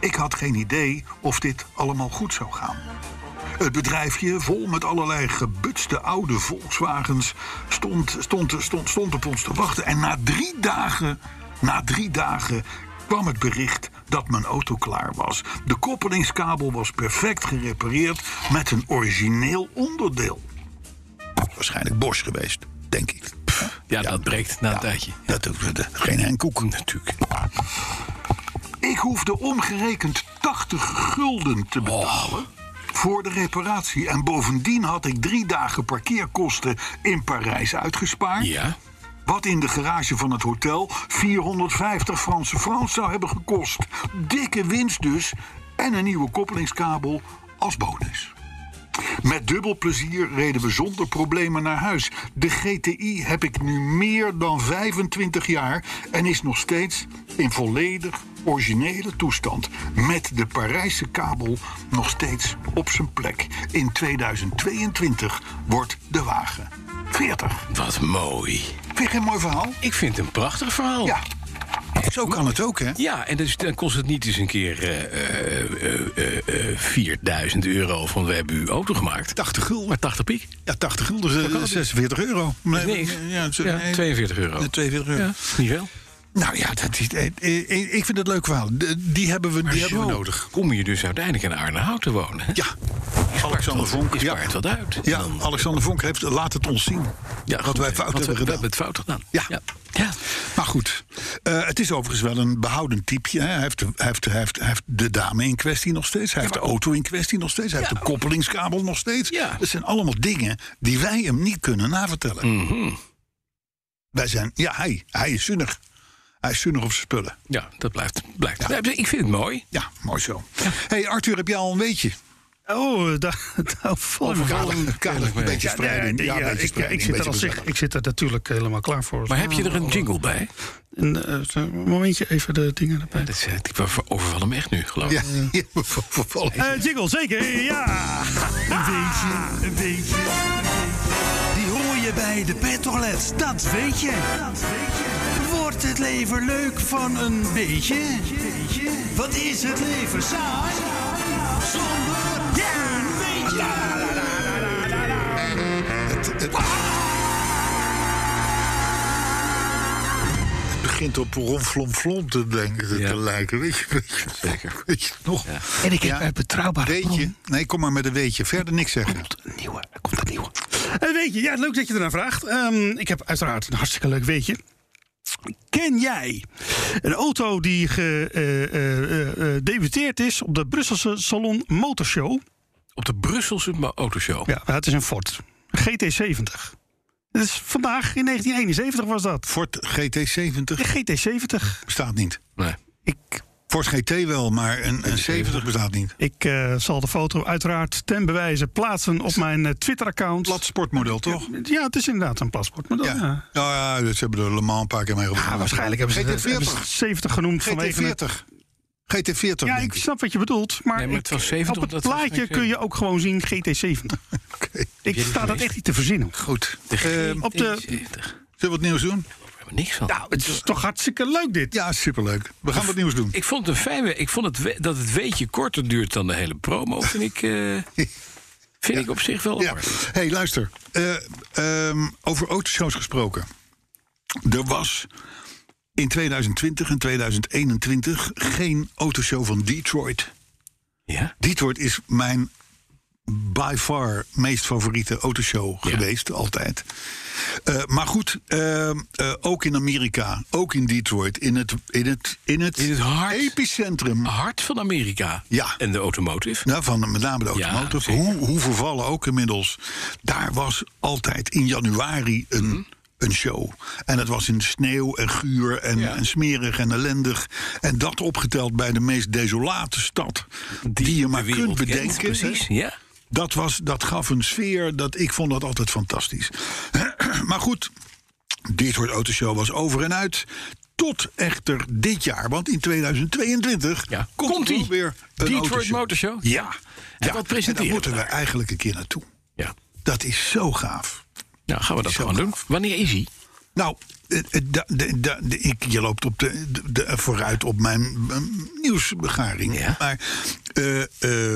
D: Ik had geen idee of dit allemaal goed zou gaan. Het bedrijfje, vol met allerlei gebutste oude Volkswagens, stond, stond, stond, stond op ons te wachten. En na drie dagen, na drie dagen kwam het bericht dat mijn auto klaar was. De koppelingskabel was perfect gerepareerd met een origineel onderdeel. Waarschijnlijk Bosch geweest, denk ik.
E: Ja, dat breekt na een tijdje.
D: Dat doet dat- geen henkoek.
E: Natuurlijk.
D: Ik hoefde omgerekend 80 gulden te betalen. Voor de reparatie. En bovendien had ik drie dagen parkeerkosten in Parijs uitgespaard.
E: Ja.
D: Wat in de garage van het hotel 450 Franse francs zou hebben gekost. Dikke winst dus. En een nieuwe koppelingskabel als bonus. Met dubbel plezier reden we zonder problemen naar huis. De GTI heb ik nu meer dan 25 jaar en is nog steeds in volledig originele toestand. Met de Parijse kabel nog steeds op zijn plek. In 2022 wordt de wagen 40.
E: Wat mooi.
D: Vind je geen mooi verhaal?
E: Ik vind het een prachtig verhaal.
D: Ja.
E: Hm?
D: Zo kan het ook, hè?
E: Ja, en dus, dan kost het niet eens een keer eh, eh, eh, eh, 4000 euro van we hebben uw auto gemaakt.
D: 80 gulden.
E: Maar 80 piek.
D: Ja, 80 gulden, eh, 46 euro. Nee,
E: Niks.
D: Ja, het is-
E: Ja,
D: nee,
E: 42 euro.
D: eh, 42 euro.
E: Ja, niet veel.
D: Nou ja, dat is, eh, eh, ik vind het leuk verhaal. De- Die hebben we, die hebben we
E: Zo
D: nodig.
E: Kom je dus uiteindelijk in Arnhout te wonen. hè?
D: Ja, Alexander Vonk.
E: Je
D: Ja,
E: spaart wat uit. En
D: ja
E: dan-
D: Alexander Vonk heeft, eh, laat het ons zien.
E: Ja,
D: wat
E: goed,
D: wij
E: hè,
D: fout
E: want
D: hebben
E: we-
D: gedaan.
E: We hebben het fout gedaan.
D: Ja.
E: ja. Ja.
D: Maar goed, eh, het is overigens wel een behoudend typje. Hè. Hij, heeft, de- hij, heeft, hij, heeft, hij heeft de dame in kwestie nog steeds. Hij heeft de auto in kwestie nog steeds. Hij heeft de koppelingskabel nog steeds.
E: Ja.
D: Dat zijn allemaal dingen die wij hem niet kunnen navertellen.
E: Mhm.
D: Wij zijn, ja, hij, hij is zinnig. Hij is zinnig op zijn spullen.
E: Ja, dat blijft. blijft. Ja, Ik vind het mooi.
D: Ja, mooi zo. hey, Arthur, heb jij al een weetje?
G: Oh, daar, daar val me wel een-
D: Kader, kader, een beetje
G: Ja, nee,
D: spreiding.
G: nee, ja,
D: een beetje
G: ik, ik,
D: spreiding,
G: zit er
D: een
G: al
D: beetje
G: zich, ik zit er natuurlijk helemaal klaar voor.
E: Maar heb je er een jingle bij?
G: Een, eh, zo, een momentje even de dingen erbij.
E: Dat is, eh, ik overval hem echt nu, geloof ik.
D: Ja, ja, voor- voor- voor-
G: Eh, jingle, zeker, <laughs> ja!
H: Een beetje, een beetje. Die hoor je bij de petrolets, dat weet je. Wordt het leven leuk van een beetje? Wat is het leven saai? Zonder een beetje.
D: Het, het- Het begint op ronflonflon te, denken, te-
E: Ja.
D: te lijken, weet je. Weet je,
E: Zeker.
D: Weet je nog?
G: En ik heb
D: Ja.
G: uit betrouwbare
D: Weetje.
G: bron-
D: Nee, kom maar met een weetje. Verder niks zeggen.
G: Een nieuwe, er komt een nieuwe. Een Eh, weetje, ja, leuk dat je ernaar vraagt. Ehm, ik heb uiteraard een hartstikke leuk weetje. Ken jij een auto die eh, gedebuteerd is op de Brusselse Salon Motorshow?
E: Op de Brusselse ma- autoshow.
G: Ja, maar het is een Ford. GT70. Dat is vandaag, in 1971 was dat.
D: Ford GT70
G: De GT70.
D: bestaat niet.
E: Nee.
G: Ik,
D: Ford GT wel, maar een, een 70 bestaat niet.
G: ik eh, zal de foto uiteraard ten bewijze plaatsen op mijn eh, Twitter-account.
D: Plat sportmodel, toch?
G: Ja, het is inderdaad een paspoortmodel.
D: Ja.
G: Ja.
D: Nou ja, ze hebben de Le Mans een paar keer mee gedaan.
G: Ah, waarschijnlijk hebben ze,
D: GT40.
G: hebben ze 70 genoemd vanwege het-
D: GT40. GT40.
G: Ja,
D: denk
G: ik snap wat je bedoelt, maar,
E: Nee, maar het
G: ik-
E: was 70,
G: op het
E: dat was
G: plaatje
E: 70.
G: kun je ook gewoon zien
E: <laughs>
G: GT70.
D: Oké,
G: Ik sta dat echt niet te verzinnen.
D: Goed.
E: De
D: Eh, zullen
G: op de-
E: GT70.
D: we wat nieuws doen?
E: We hebben niks van.
G: Nou, het is toch hartstikke leuk dit.
D: Ja, superleuk. We gaan wat nieuws doen.
E: Ik vond het een fijn. we- Ik vond het we- dat het weetje korter duurt dan de hele promo. Vind ik, eh,
D: <laughs>
E: vind ik op zich wel.
D: Ja.
E: apart.
D: hey, luister. Eh, ehm, over autoshows gesproken. Er was in 2020 en 2021 geen autoshow van Detroit.
E: Ja?
D: Detroit is mijn by far meest favoriete autoshow geweest, altijd. Eh, maar goed, eh, eh, ook in Amerika, ook in Detroit, in het, in het, in het,
E: In het hart.
D: epicentrum
E: Hart van Amerika.
D: Ja.
E: En de automotive.
D: Nou, van met name de
E: Ja,
D: automotive.
E: zeker.
D: hoe, hoe vervallen ook inmiddels. Daar was altijd in januari een,
E: Mhm.
D: een show. En het was in sneeuw en guur en, en smerig en ellendig. En dat opgeteld bij de meest desolate stad die, je maar
E: de wereld
D: kunt
E: kent,
D: bedenken.
E: precies, ja.
D: Dat, was, dat gaf een sfeer, dat, ik vond dat altijd fantastisch. <clears throat> maar goed, dit soort autoshow was over en uit. Tot echter dit jaar, want in 2022
E: Ja.
D: komt,
E: Komt
D: er
E: ie.
D: ook weer een
E: Detroit
D: autoshow.
E: Motorshow?
D: Ja.
E: En
D: ja.
E: wat presenteren
D: daar moeten
E: we
D: we eigenlijk een keer naartoe.
E: Ja.
D: Dat is zo gaaf.
E: Nou, gaan we dat
D: Zo
E: gewoon doen.
D: gaaf.
E: Wanneer is hij?
D: Nou, eh, eh, da- de- da- de- ik, je loopt op de, de- de- vooruit op mijn mm, nieuwsbegaring.
E: Ja.
D: Maar eh,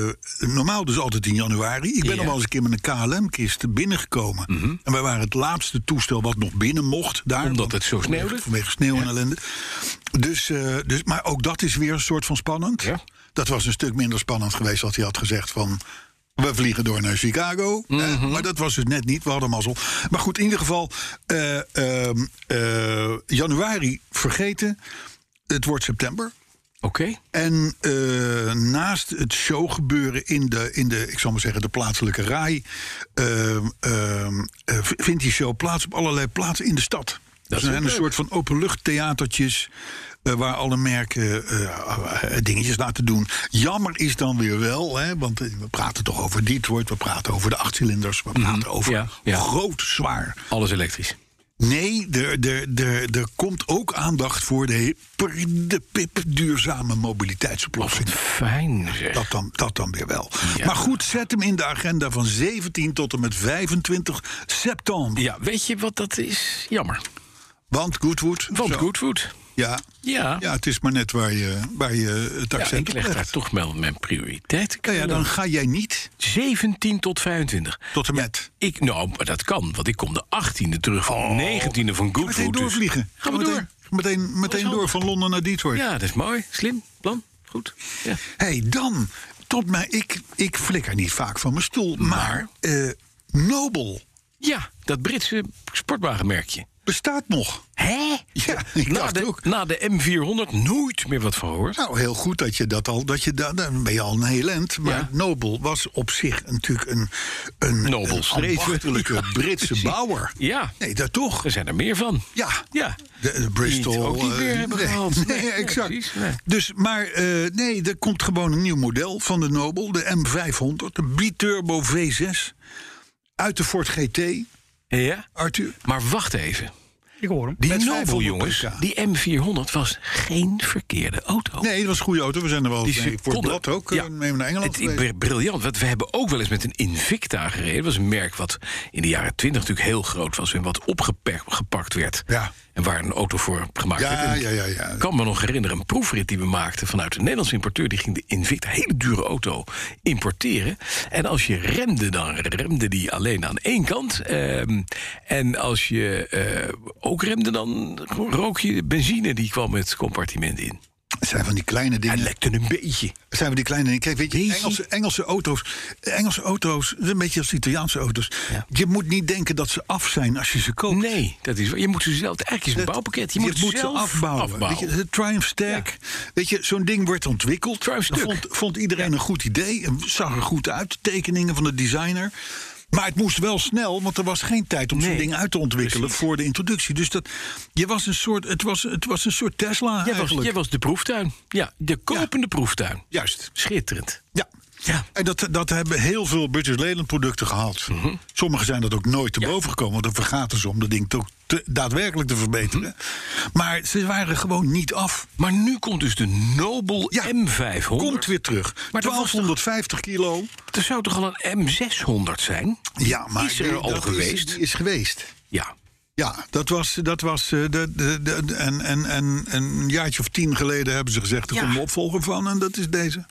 D: eh, normaal dus altijd in januari. Ik ben
E: Ja. Mhm.
D: nog wel eens een keer met een KLM-kist binnengekomen. En wij waren het laatste toestel wat nog binnen mocht daar.
E: Omdat
D: want-
E: het zo sneeuwde?
D: Vanwege sneeuw en ellende. Dus, eh, dus, maar ook dat is weer een soort van spannend.
E: Ja.
D: Dat was een stuk minder spannend geweest als hij had gezegd van... We vliegen door naar Chicago. Eh, maar dat was dus net niet. We hadden mazzel. Maar goed, in ieder geval... eh, ehm, eh, januari vergeten. Het wordt september.
E: Oké.
D: En eh, naast het showgebeuren in de, in de, ik zal maar zeggen, de plaatselijke RAI... ehm, ehm, eh, v- vindt die show plaats op allerlei plaatsen in de stad. Dat zijn een soort van openluchttheatertjes... eh, waar alle merken eh, eh, dingetjes laten doen. Jammer is dan weer wel, hè, want eh, we praten toch over Detroit... we praten over de achtcilinders, we praten over
E: Mhm, ja, ja.
D: groot, zwaar...
E: Alles elektrisch.
D: Nee, er, er, er, er komt ook aandacht voor de, hyper, de pip duurzame mobiliteitsoplossing.
E: Fijn zeg.
D: Dat dan, dat dan weer wel.
E: Ja.
D: Maar goed, zet hem in de agenda van 17 tot en met 25 september.
E: Ja, weet je wat dat is? Jammer.
D: Want Goodwood.
E: Want
D: zo,
E: Goodwood.
D: Ja,
E: Ja.
D: ja, het is maar net waar je, waar je het
E: Ja,
D: accent
E: ik
D: op
E: leg daar
D: legt.
E: toch wel mijn prioriteit.
D: Ja, ja, dan ga jij niet
E: 17 tot 25.
D: tot en met.
E: Ik, nou, maar dat kan, want ik kom de 18e terug van de 19e van Goodwood.
D: Oh. Meteen
E: dus-
D: doorvliegen.
E: Gaan we door.
D: meteen, Meteen, meteen door van Londen naar Detroit.
E: Ja, dat is mooi. Slim. Plan. Goed. Ja.
D: hey, dan, tot mij, ik, ik flikker niet vaak van mijn stoel,
E: Nou.
D: maar eh, Nobel
E: ja, dat Britse sportwagenmerkje.
D: bestaat nog.
E: Hé?
D: Ja, ik
E: na,
D: dacht
E: Nou, de,
D: ook.
E: na de M400 nooit meer wat van gehoord.
D: Nou, heel goed dat je dat al. Dat je da- dan ben je al een heel end. Maar
E: Ja.
D: Nobel was op zich natuurlijk een. een
E: Nobel
D: een
E: streven.
D: ambachtelijke Britse bouwer.
E: <laughs> Ja.
D: Nee, dat toch?
E: Er zijn er meer van.
D: Ja.
E: Ja.
D: De, de Bristol.
E: Die het ook niet
D: eh,
E: meer hebben
D: nee,
E: gehaald.
D: <laughs> Nee,
E: Nee, nee,
D: exact.
E: precies, nee.
D: Dus, maar eh, nee, er komt gewoon een nieuw model van de Nobel, de M500, de biturbo V6. Uit de Ford GT,
E: Ja.
D: Arthur.
E: Maar wacht even.
G: Ik hoor hem.
E: Die
D: Met
E: Nobel,
D: 500
E: jongens,
D: pk.
E: die M400 was geen verkeerde auto.
D: Nee, dat was een goede auto. We zijn er wel
E: Oh. Die
D: eens mee
E: ze
D: voor het
E: konden-
D: blad ook.
E: Ja.
D: eh, mee naar Engeland.
E: Het is
D: geweest.
E: br- briljant, want we hebben ook wel eens met een Invicta gereden. Dat was een merk wat in de jaren 20 natuurlijk heel groot was... en wat opgepakt werd.
D: Ja.
E: En waar een auto voor gemaakt werd.
D: ja,
E: En
D: ja, ja, ja.
E: Ik kan me nog herinneren, een proefrit die we maakten vanuit een Nederlandse importeur. Die ging de Invicta, een hele dure auto, importeren. En als je remde, dan remde die alleen aan één kant. Ehm, en als je eh, ook remde, dan rook je de benzine die kwam het compartiment in.
D: Het zijn van die kleine dingen.
E: Hij lekte een beetje.
D: zijn we die kleine dingen. Kijk, weet je,
E: Jeetje.
D: Engelse, Engelse auto's. Engelse auto's, dat is een beetje als Italiaanse auto's.
E: Ja.
D: Je moet niet denken dat ze af zijn als je ze koopt.
E: Nee, dat is waar. Je moet ze zelf. Eigenlijk is het een bouwpakket. Je, moet,
D: ze
E: zelf
D: afbouwen.
E: afbouwen.
D: Weet je, de Triumph Stack. Weet je, zo'n ding wordt ontwikkeld.
E: Triumph
D: Dat
E: stuk.
D: vond, vond iedereen een goed idee. en Zag er goed uit. de Tekeningen van de designer. Maar het moest wel snel, want er was geen tijd om zo'n
E: Nee,
D: ding uit te ontwikkelen
E: precies.
D: voor de introductie. Dus dat, je was een soort, het, was, het was een soort Tesla
E: jij, was,
D: eigenlijk.
E: jij was de proeftuin. Ja, de kopende proeftuin.
D: Juist.
E: Schitterend.
D: Ja.
E: Ja.
D: En dat, dat hebben heel veel British Leyland producten gehad.
E: Mhm.
D: Sommige zijn dat ook nooit te boven gekomen. Want dan vergaten ze om dat ding toch te- daadwerkelijk te verbeteren.
E: Mhm.
D: Maar ze waren gewoon niet af.
E: Maar nu komt dus de Nobel
D: Ja,
E: M500.
D: Komt weer terug.
E: Maar dat was toch-
D: 1250 kilo.
E: Er zou toch al een M600 zijn?
D: Ja, maar
E: Is er
D: die-
E: al
D: dat
E: geweest?
D: die is geweest.
E: Ja.
D: Ja, dat was. Dat was eh, de, de, de- de- en, en, en en een jaartje of tien geleden hebben ze gezegd. Er
E: Ja.
D: komt een opvolger van. En dat is deze.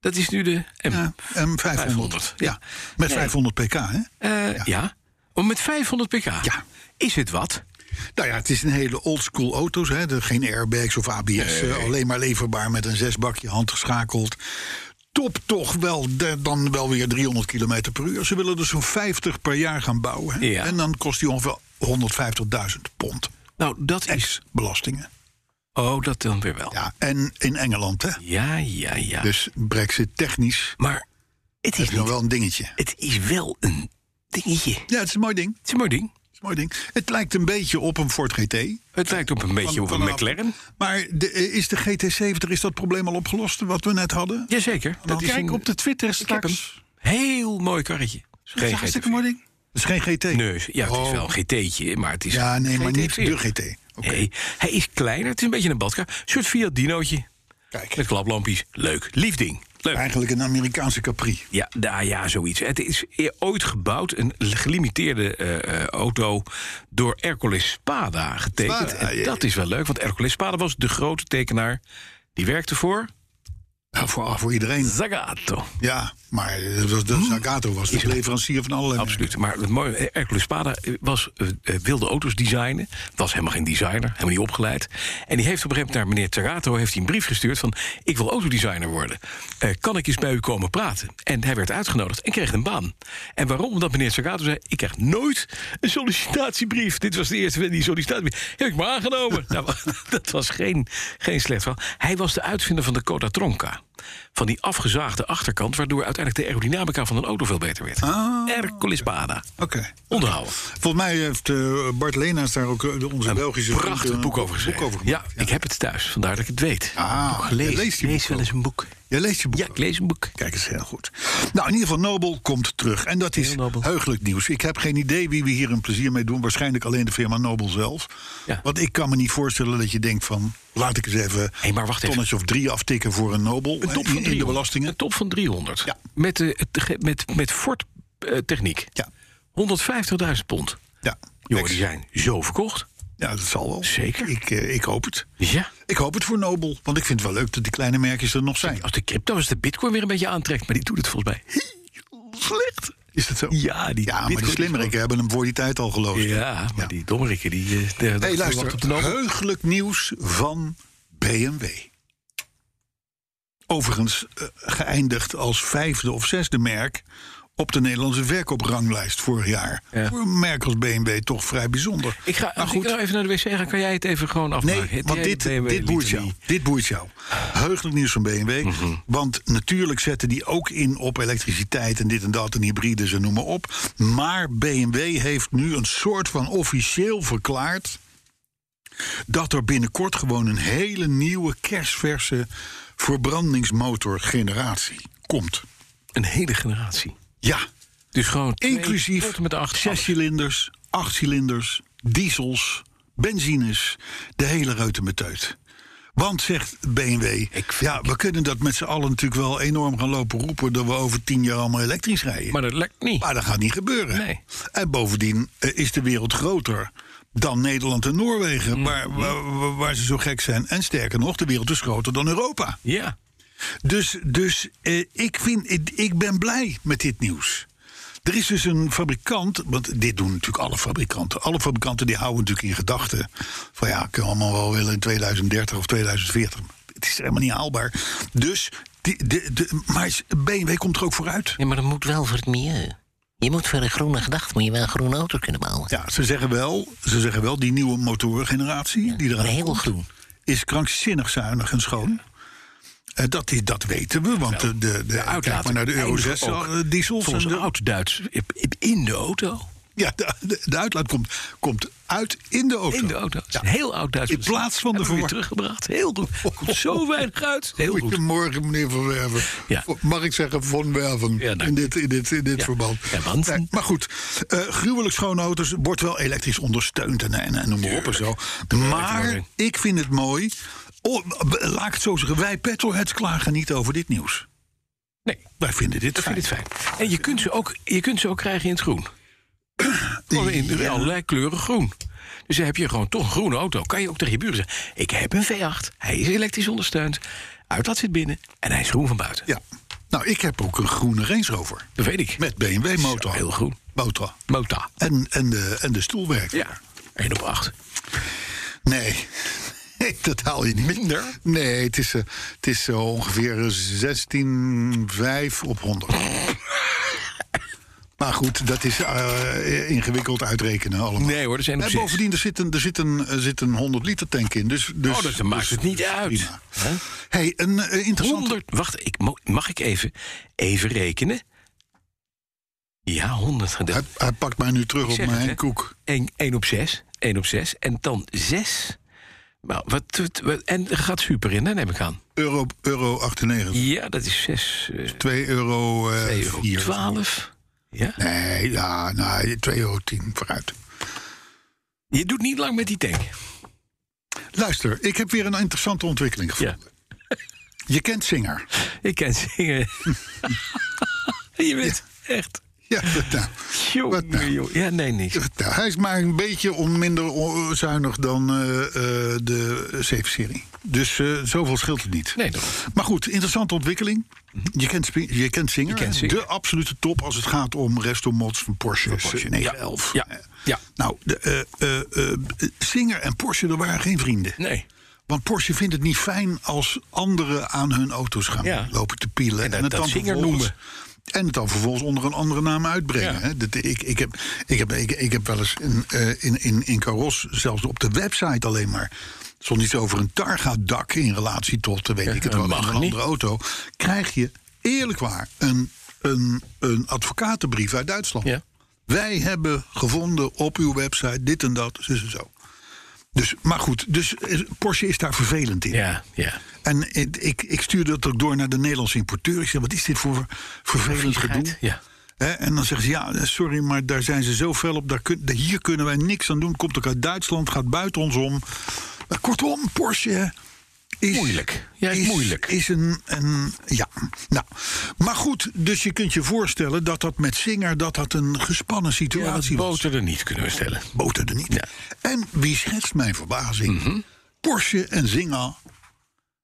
E: Dat is nu de M.
D: Ja, M500.
E: 500, ja.
D: Ja. Met
E: Nee.
D: 500 pk, hè?
E: Eh, ja. Oh, met 500 pk.
D: Ja.
E: Is het wat?
D: Nou ja, het is een hele oldschool auto's. Hè? Er geen airbags of ABS. eh, alleen maar leverbaar met een zesbakje handgeschakeld. Top toch wel, de- dan wel weer 300 km per uur. Ze willen er zo'n 50 per jaar gaan bouwen. hè.
E: Ja.
D: En dan kost die ongeveer 150.000 pond.
E: Nou, dat is.
D: Ex-belastingen.
E: Oh, dat dan weer wel.
D: Ja, en in Engeland, hè?
E: ja, ja. ja.
D: Dus brexit technisch
E: maar het
D: heb
E: is,
D: je nog
E: niet,
D: wel een dingetje.
E: het is wel een dingetje. Het
D: Ja, het is een mooi ding. Het
E: is een mooi ding.
D: is een mooi ding. Het lijkt een beetje op een Ford GT.
E: Het lijkt op een beetje
D: Van-
E: op een
D: vanaf-
E: McLaren.
D: Maar de, eh, is de GT70, is dat probleem al opgelost wat we net hadden?
E: Jazeker. Dat is
G: Kijk
E: een-
G: op de Twitter
E: Ik heb hem.
G: straks.
E: Heel mooi karretje.
G: Dat is een hartstikke mooi ding.
D: Het is geen GT.
E: Neus. Ja, het is wel een GT'tje, maar het is...
D: Oh. Ja, nee, maar niet
E: GT4.
D: de GT. Oké.
E: Nee, hij is kleiner. Het is een beetje een badkar. Een soort Fiat Dinootje.
D: Kijk.
E: Met klaplampjes. Leuk. Lief ding. Leuk.
D: Eigenlijk een Amerikaanse Capri.
E: Ja, nou ja, zoiets. Het is e- ooit gebouwd, een gelimiteerde eh, eh, auto, door Hercules Spada getekend.
D: Spada,
E: en
D: ja,
E: dat is wel leuk, want Hercules Spada was de grote tekenaar. Die werkte voor Nou,
D: Ja, voor, voor iedereen.
E: Zagato.
D: Ja, maar eh, dat was
E: Hm?
D: de Zagato was de leverancier van alle.
E: Absoluut. Maar het mooie, Hercules Spada eh, was, eh, eh, wilde auto's designen. Was helemaal geen designer, helemaal niet opgeleid. En die heeft op een gegeven moment naar meneer Terrato heeft hij een brief gestuurd van... ik wil autodesigner worden. Eh, kan ik eens bij u komen praten? En hij werd uitgenodigd en kreeg een baan. En waarom? Omdat meneer Terrato zei... ik krijg nooit een sollicitatiebrief. Dit was de eerste die sollicitatiebrief. Heb ik maar aangenomen. <laughs> nou, dat was geen, geen slecht verhaal. Hij was de uitvinder van de Coda Tronca. Van die afgezaagde achterkant... waardoor uiteindelijk de aerodynamica van een auto veel beter werd. Hercules Bada.
D: Oké.
E: Onderhouden.
D: Volgens mij heeft eh, Bart Leenaars daar ook eh, de- onze Belgische vriend,
E: Prachtig
D: eh,
E: boek over geschreven. ja,
D: gemaakt.
E: ik heb het thuis, vandaar dat ik het weet.
D: Ah,
E: Ik heb gelezen.
D: je leest die boeken
E: Ik lees wel eens een boek.
D: Jij leest je boek.
E: Ja, ik lees een boek.
D: Kijk eens heel goed. Nou, in ieder geval, Nobel komt terug. En dat is
E: Heel nobel.
D: heugelijk nieuws. Ik heb geen idee wie we hier een plezier mee doen. Waarschijnlijk alleen de firma Nobel zelf.
E: Ja.
D: Want ik kan me niet voorstellen dat je denkt van... laat ik eens even
E: Hé, maar wacht
D: een
E: even.
D: tonnetje of drie aftikken voor een Nobel.
E: Een top
D: in,
E: van
D: in de
E: 300.
D: belastingen.
E: Een top van 300.
D: Ja.
E: Met, eh, het ge- met, met Ford eh, techniek.
D: Ja.
E: 150.000 pond.
D: Ja.
E: Jongen, die zijn zo verkocht.
D: ja, dat zal wel.
E: Zeker.
D: Ik, eh, ik hoop het.
E: Ja.
D: Ik hoop het voor Nobel. Want ik vind het wel leuk dat die kleine merkjes er nog zijn.
E: Als de crypto, als de bitcoin weer een beetje aantrekt. Maar die doet het volgens mij heel slecht.
D: Is dat zo?
E: Ja, die
D: Ja, maar
E: bitcoin
D: die
E: is
D: slimmerikken hebben hem voor die tijd al geloosd.
E: Ja, maar die dommerikken, die... eh, de-
D: Hé,
E: de-
D: hey, luister.
E: wacht op de Nobel.
D: Heugelijk nieuws van BMW. Overigens eh, geëindigd als vijfde of zesde merk op de Nederlandse verkoopranglijst vorig jaar.
E: Ja.
D: Voor een merk als BMW toch vrij bijzonder.
E: Ik ga,
D: maar
E: als ik
D: goed.
E: nou even naar de wc ga, kan jij het even gewoon afmaken?
D: Nee,
E: Het-
D: want
E: jij-
D: dit,
E: de BMW
D: dit boeit jou.
E: litanie.
D: Dit boeit jou. Heugelijk nieuws van BMW. Want natuurlijk zetten die ook in op elektriciteit en dit en dat en hybrides en noem maar op. Maar BMW heeft nu een soort van officieel verklaard dat er binnenkort gewoon een hele nieuwe kerstverse verbrandingsmotorgeneratie komt.
E: Een hele generatie.
D: Ja,
E: Dus gewoon twee
D: Inclusief
E: tot en met acht. alles.
D: zescilinders, achtcilinders, diesels, benzines. De hele reutemeteut. Want, zegt BMW, ja, we kunnen dat met z'n allen natuurlijk wel enorm gaan lopen roepen... dat we over tien jaar allemaal elektrisch rijden.
E: Maar dat lekt niet.
D: Maar dat gaat niet gebeuren.
E: Nee.
D: En bovendien eh, is de wereld groter dan Nederland en
E: Mm.
D: Noorwegen... Waar, waar, waar ze zo gek zijn. En sterker nog, de wereld is groter dan Europa.
E: ja.
D: Dus, dus eh, ik, vind, ik, ik ben blij met dit nieuws. Er is dus een fabrikant, want dit doen natuurlijk alle fabrikanten. Alle fabrikanten die houden natuurlijk in gedachten. Van ja, kunnen we allemaal wel willen in 2030 of 2040. Het is helemaal niet haalbaar. Dus, die, de, de, maar BMW komt er ook vooruit.
I: Ja, maar dat moet wel voor het milieu. Je moet voor een groene gedachte, moet je wel een groene auto kunnen bouwen.
D: Ja, ze zeggen wel, ze zeggen wel die nieuwe motorengeneratie die eraan
I: heel
D: komt,
I: groen.
D: is krankzinnig zuinig en schoon. Eh, dat, is, dat weten we, want de, de, de, kijk maar naar de Euro 6 diesels. en
E: Volgens
D: de-
E: oud-Duits in de auto.
D: Ja, de, de- de uitlaat komt, komt uit in de auto.
E: In de auto. Dat is
D: Ja.
E: een Heel oud-Duits.
D: In plaats van de
E: Hebben we weer
D: verwar-
E: teruggebracht. Heel goed.
D: <laughs>
E: Komt zo weinig uit. Heel goed.
D: Goedemorgen, meneer Van Werven.
E: Ja.
D: Mag ik zeggen Van Werven
E: Ja, dank
D: in dit, in dit, in dit
E: Ja.
D: verband?
E: Ja, want-
D: Nee, maar goed, eh, gruwelijk schone auto's wordt wel elektrisch ondersteund en, en, en noem maar op en zo. Maar
E: Tuurlijk.
D: ik vind het mooi. Oh, b- laat ik het zo zeggen, wij petrolheads klagen niet over dit nieuws.
E: Nee,
D: Wij vinden dit
E: ik vind
D: fijn.
E: het fijn. En je kunt ze ook, je kunt ze ook krijgen in het groen. Gewoon in allerlei kleuren groen. Dus dan heb je gewoon toch een groene auto. Kan je ook tegen je buren zeggen... ik heb een V8, hij is elektrisch ondersteund... uitlaat zit binnen en hij is groen van buiten.
D: Ja. Nou, ik heb ook een groene Range Rover
E: Dat weet ik.
D: met BMW motor.
E: Heel groen.
D: Motor.
E: Mota.
D: En, en, de, en de stoelwerk.
E: Ja. 1 op 8.
D: Nee. <laughs> Nee, dat haal je niet.
E: Minder?
D: Nee, het is, eh, het is zo ongeveer 16,5 op 100. maar goed, dat is eh, ingewikkeld uitrekenen allemaal.
E: Nee hoor, er zijn op
D: en
E: zes.
D: bovendien, er zit een, er zit een, er zit een 100 liter tank in. Dus, dus,
E: Oh, dat maakt
D: dus-
E: het niet uit.
D: prima. hey, een eh, interessante...
E: 100. Wacht, ik, mo- mag ik even, even rekenen? Ja, 100
D: Hij,
E: gedeeld.
D: hij pakt mij nu terug op
E: zeg het,
D: mijn
E: hè.
D: koek.
E: 1 op 6. 1 op 6. En dan 6 Nou, wat, wat- wat- en er gaat super in, hè, neem ik aan.
D: Euro, euro 98.
E: Ja, dat is 6
D: 2 euro, eh,
E: euro.
D: vier.
E: 12. Ja.
D: Nee, ja, nou, 2 euro 10 vooruit.
E: Je doet niet lang met die tank.
D: Luister, ik heb weer een interessante ontwikkeling gevonden. Je kent Singer.
E: Ik kan
D: <laughs>
E: zingen. je bent echt...
D: Ja, <laughs> dat nou. Wat nou?
E: Jongen, jongen. Ja, nee, niks.
D: Dat nou. Hij is maar een beetje on, minder on- zuinig dan eh, eh, de 7-serie. Dus eh, zoveel scheelt het niet.
E: Nee, dat- Mhm.
D: Maar goed, interessante ontwikkeling. Je kent, Spi- je kent Singer,
E: Je kent Singer.
D: de absolute top als het gaat om restomods van Porsche,
E: Porsche,
D: 911.
E: ja,
D: Eh,
E: ja.
D: Nou, de, eh, eh, eh, Singer en Porsche, er waren geen vrienden.
E: Nee.
D: Want Porsche vindt het niet fijn als anderen aan hun auto's gaan
E: Ja.
D: lopen te pielen.
E: En dat- dat Singer
D: vervolgens-
E: noemen.
D: En het dan vervolgens onder een andere naam uitbrengen.
E: Ja.
D: hè. Dat, ik, ik, heb, ik, heb, ik, ik heb wel eens in, eh, in, in, in Caros, zelfs op de website alleen maar... stond iets over een Targa-dak in relatie tot, eh, weet ik het
E: dat
D: wel,
E: mag
D: een
E: niet.
D: andere auto. Krijg je, eerlijk waar, een, een, een advocatenbrief uit Duitsland.
E: Ja.
D: Wij hebben gevonden op uw website dit en dat, dus en zo. Dus, maar goed, dus eh, Porsche is daar vervelend in.
E: Ja, ja.
D: En ik, ik, ik stuurde dat ook door naar de Nederlandse importeur. Ik zei, wat is dit voor vervelend gedoe?
E: Ja.
D: Hè, en dan zeggen ze, ja, eh, sorry, maar daar zijn ze zo fel op. Daar kun, daar- hier kunnen wij niks aan doen. Komt ook uit Duitsland, gaat buiten ons om. Maar kortom, Porsche is...
E: Moeilijk. Ja, is
D: is
E: moeilijk.
D: Is een, een... Ja, nou. Maar goed, dus je kunt je voorstellen dat dat met Singer... dat dat een gespannen
E: Ja, dat
D: situatie was.
E: boter er niet, kunnen we stellen.
D: Boter er niet.
E: Ja. Mhm.
D: En wie schetst mijn verbazing? Porsche en Zinga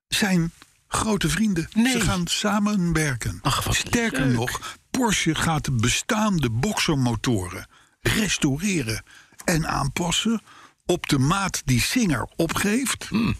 D: zijn grote vrienden.
E: Nee.
D: Ze gaan samenwerken.
E: Ach, wat
D: Sterker
E: leuk.
D: nog, Porsche gaat de bestaande boxermotoren restaureren en aanpassen op de maat die Singer opgeeft.
E: Mm.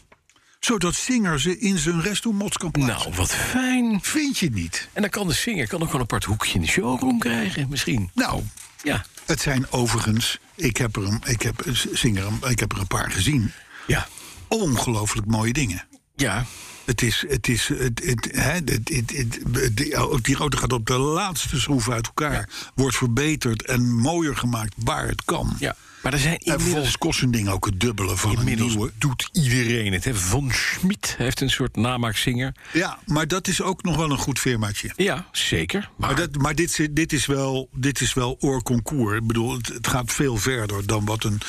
D: Zodat Singer ze in zijn restomods kan plaatsen.
E: Nou, wat fijn.
D: Vind je niet?
E: En dan kan de zinger kan ook wel een apart hoekje in de showroom krijgen, misschien.
D: Nou,
E: Ja.
D: het zijn overigens, ik heb er een, ik heb, Singer, ik heb er een paar gezien.
E: Ja.
D: ongelooflijk mooie dingen.
E: Ja.
D: Het is, het is, het, het, hè, het, het, het- die, ook die auto gaat op de laatste schroef uit elkaar. Wordt verbeterd en mooier gemaakt waar het kan.
E: ja. Maar er zijn
D: En
E: inmiddels,
D: volgens kost een ding ook het dubbele van een
E: inmiddels
D: nieuwe.
E: doet iedereen het. Hè. Von Schmid heeft een soort namaakzinger.
D: Ja, maar dat is ook nog wel een goed firmaatje.
E: Ja, zeker. Maar,
D: Maar, dat, maar dit, is- dit is wel, dit is wel oor concours. Ik bedoel, het, het gaat veel verder dan wat een,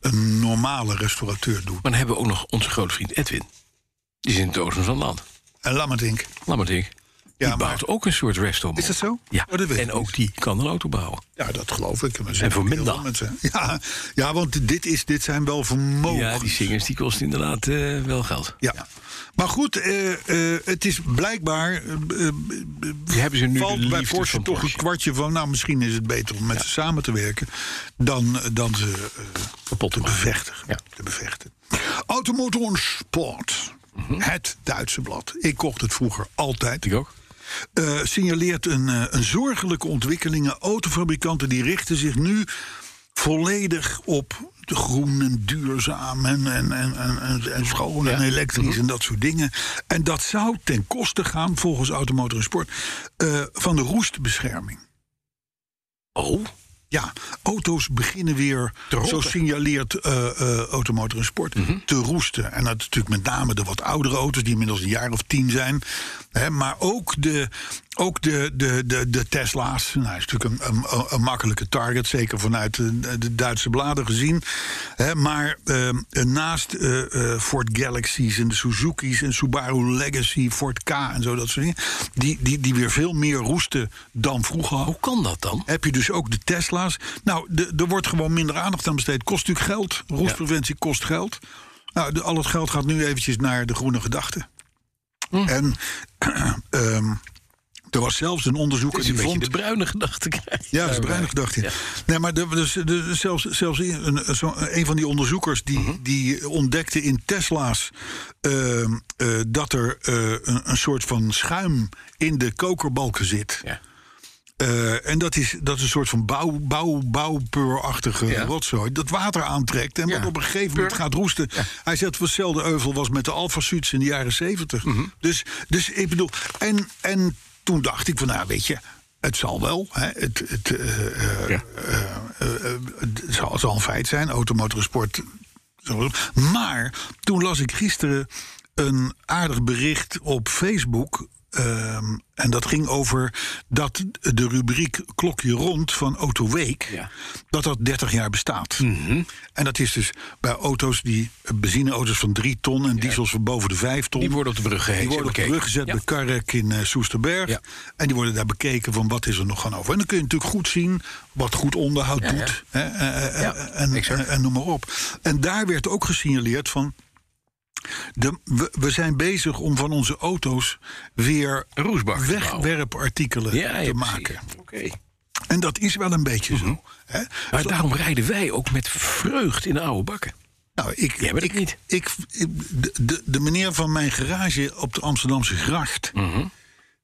D: een normale restaurateur doet.
E: maar dan hebben we ook nog onze grote vriend Edwin. Die is in het oosten van het land.
D: En laat maar denken.
E: Laat maar denken. Die
D: Ja, maar-
E: bouwt ook een soort restaurant.
D: Is dat zo?
E: Ja.
D: Oh, dat weet
E: en
D: ik niet.
E: ook die kan een auto bouwen.
D: Ja, dat geloof ik. Maar er
E: En voor
D: zijn heel
E: minder.
D: veel mensen. Ja, ja want dit, is, dit zijn wel vermogen.
E: Ja, die zingers die kosten inderdaad eh, wel geld.
D: Ja. Maar goed, eh, eh, het is blijkbaar. eh, eh,
E: Die hebben ze nu de
D: valt bij
E: liefde
D: Porsche
E: van
D: toch een
E: Porsche.
D: kwartje van. Nou, misschien is het beter om met ze samen te werken. dan, dan ze eh,
E: Kapot te
D: te,
E: maken.
D: bevechten,
E: Ja.
D: te bevechten. Automotor en Sport. Het Duitse blad. Ik kocht het vroeger altijd.
E: Mhm. Ik ook.
D: Eh, signaleert een, eh, een zorgelijke ontwikkeling. Autofabrikanten die richten zich nu volledig op de groen en duurzaam en, en, en, en, en, en schoon en elektrisch en dat soort dingen. En dat zou ten koste gaan, volgens Automotor en Sport, eh, van de roestbescherming.
E: Oh,
D: Ja, auto's beginnen weer, zo signaleert eh, eh, Automotor en Sport, te roesten. En dat is natuurlijk met name de wat oudere auto's, die inmiddels een jaar of tien zijn. Hè, maar ook de, ook de, de, de, de Tesla's. Nou, is natuurlijk een, een, een makkelijke target, zeker vanuit de, de Duitse bladen gezien. Hè, maar eh, naast eh, eh, Ford Galaxies en de Suzuki's en Subaru Legacy, Ford K en zo, dat soort dingen. Die, die, die weer veel meer roesten dan vroeger
E: hoe kan dat dan?
D: heb je dus ook de Tesla's. Nou, de- er wordt gewoon minder aandacht aan besteed. Kost natuurlijk geld. Roestpreventie kost geld. Nou, de- al het geld gaat nu eventjes naar de groene gedachten.
E: Hm.
D: En <clears throat> ehm, er was zelfs een onderzoeker
E: Het is een
D: die
E: beetje
D: vond...
E: de bruine gedachte krijgen.
D: Ja, dat is bruinig gedacht. in. Nee, maar er- dus, dus zelfs, zelfs een, zo- een van die onderzoekers die,
E: Mhm.
D: die ontdekte in Tesla's eh, eh, dat er eh, een, een soort van schuim in de kokerbalken zit.
E: Ja.
D: Eh, en dat is, dat is een soort van bouw, bouw, bouwpeurachtige
E: Ja.
D: rotzooi. Dat water aantrekt en
E: Ja.
D: wat op een gegeven moment gaat roesten. Hij zegt dat hetzelfde euvel was met de Alfa Suits in de jaren 70.
E: Mhm.
D: dus, dus ik bedoel. En, en toen dacht ik van, nou weet je. Het zal wel. Hè, het, het, eh, eh, eh, eh, het zal, zal een feit zijn. Automotorsport zo. Maar toen las ik gisteren een aardig bericht op Facebook. ehm, en dat ging over dat de rubriek Klokje Rond van Auto Week...
E: Ja. Mhm.
D: dat dat 30 jaar bestaat. En dat is dus bij auto's die... eh, benzineauto's van 3 ton en diesels van boven de 5 ton.
E: Die worden op de brug gehesen,
D: Die worden op de
E: bekeken.
D: brug gezet
E: Ja.
D: bij Karrek in eh, Soesterberg.
E: Ja.
D: En die worden daar bekeken van wat is er nog gaan over. En dan kun je natuurlijk goed zien wat goed onderhoud
E: Ja,
D: doet. Hè, eh, eh,
E: Ja,
D: eh, en,
E: exact.
D: en, en noem maar op. En daar werd ook gesignaleerd van... De, we, we zijn bezig om van onze auto's weer
E: Een roesbak te bouwen.
D: wegwerpartikelen
E: Ja,
D: te
E: ja, precies. Mhm.
D: maken.
E: Oké.
D: En dat is wel een beetje zo. Hè?
E: Maar daarom rijden wij ook met vreugd in de oude bakken.
D: Nou, ik,
E: Jij bent het
D: ik,
E: niet.
D: Ik, ik- de, de, de meneer van mijn garage op de Amsterdamse gracht...
E: Mhm.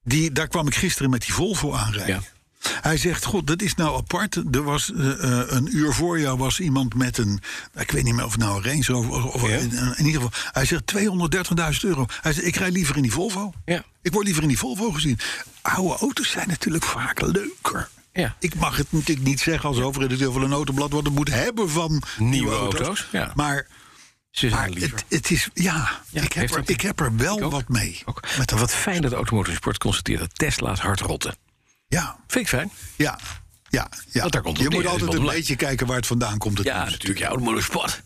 D: die, daar kwam ik gisteren met die Volvo aanrijden. Hij zegt, god, dat is nou apart. Er was, eh, eh, een uur voor jou was iemand met een... Ik weet niet meer of het nou een Range Rover... Of, of-
E: Ja.
D: in, in ieder geval, hij zegt 230.000 euro. Hij zegt, ik rij liever in die Volvo.
E: Ja.
D: Ik word liever in die Volvo gezien. Oude auto's zijn natuurlijk vaak leuker.
E: Ja.
D: Ik mag het natuurlijk niet zeggen als hoofdredacteur van een autoblad... wat het moet hebben van nieuwe, auto's.
E: auto's, ja.
D: Maar
E: Ze
D: maar
E: zijn liever.
D: het, het is, ja,
E: Ja,
D: ik, heb
E: heeft
D: er,
E: dat-
D: ik heb er wel
E: ook.
D: wat mee.
E: Ook.
D: Met dat,
E: Wat fijn dat de automotorsport constateert dat Tesla's hard rotten.
D: ja,
E: Vind ik fijn.
D: ja, ja. ja.
E: Want daar komt het
D: je
E: op
D: moet
E: neer, dat
D: altijd
E: is wel
D: een
E: belangrijk.
D: beetje kijken waar het vandaan komt. Het
E: Ja,
D: nieuws. <laughs>
E: natuurlijk. Ja, automotorsport.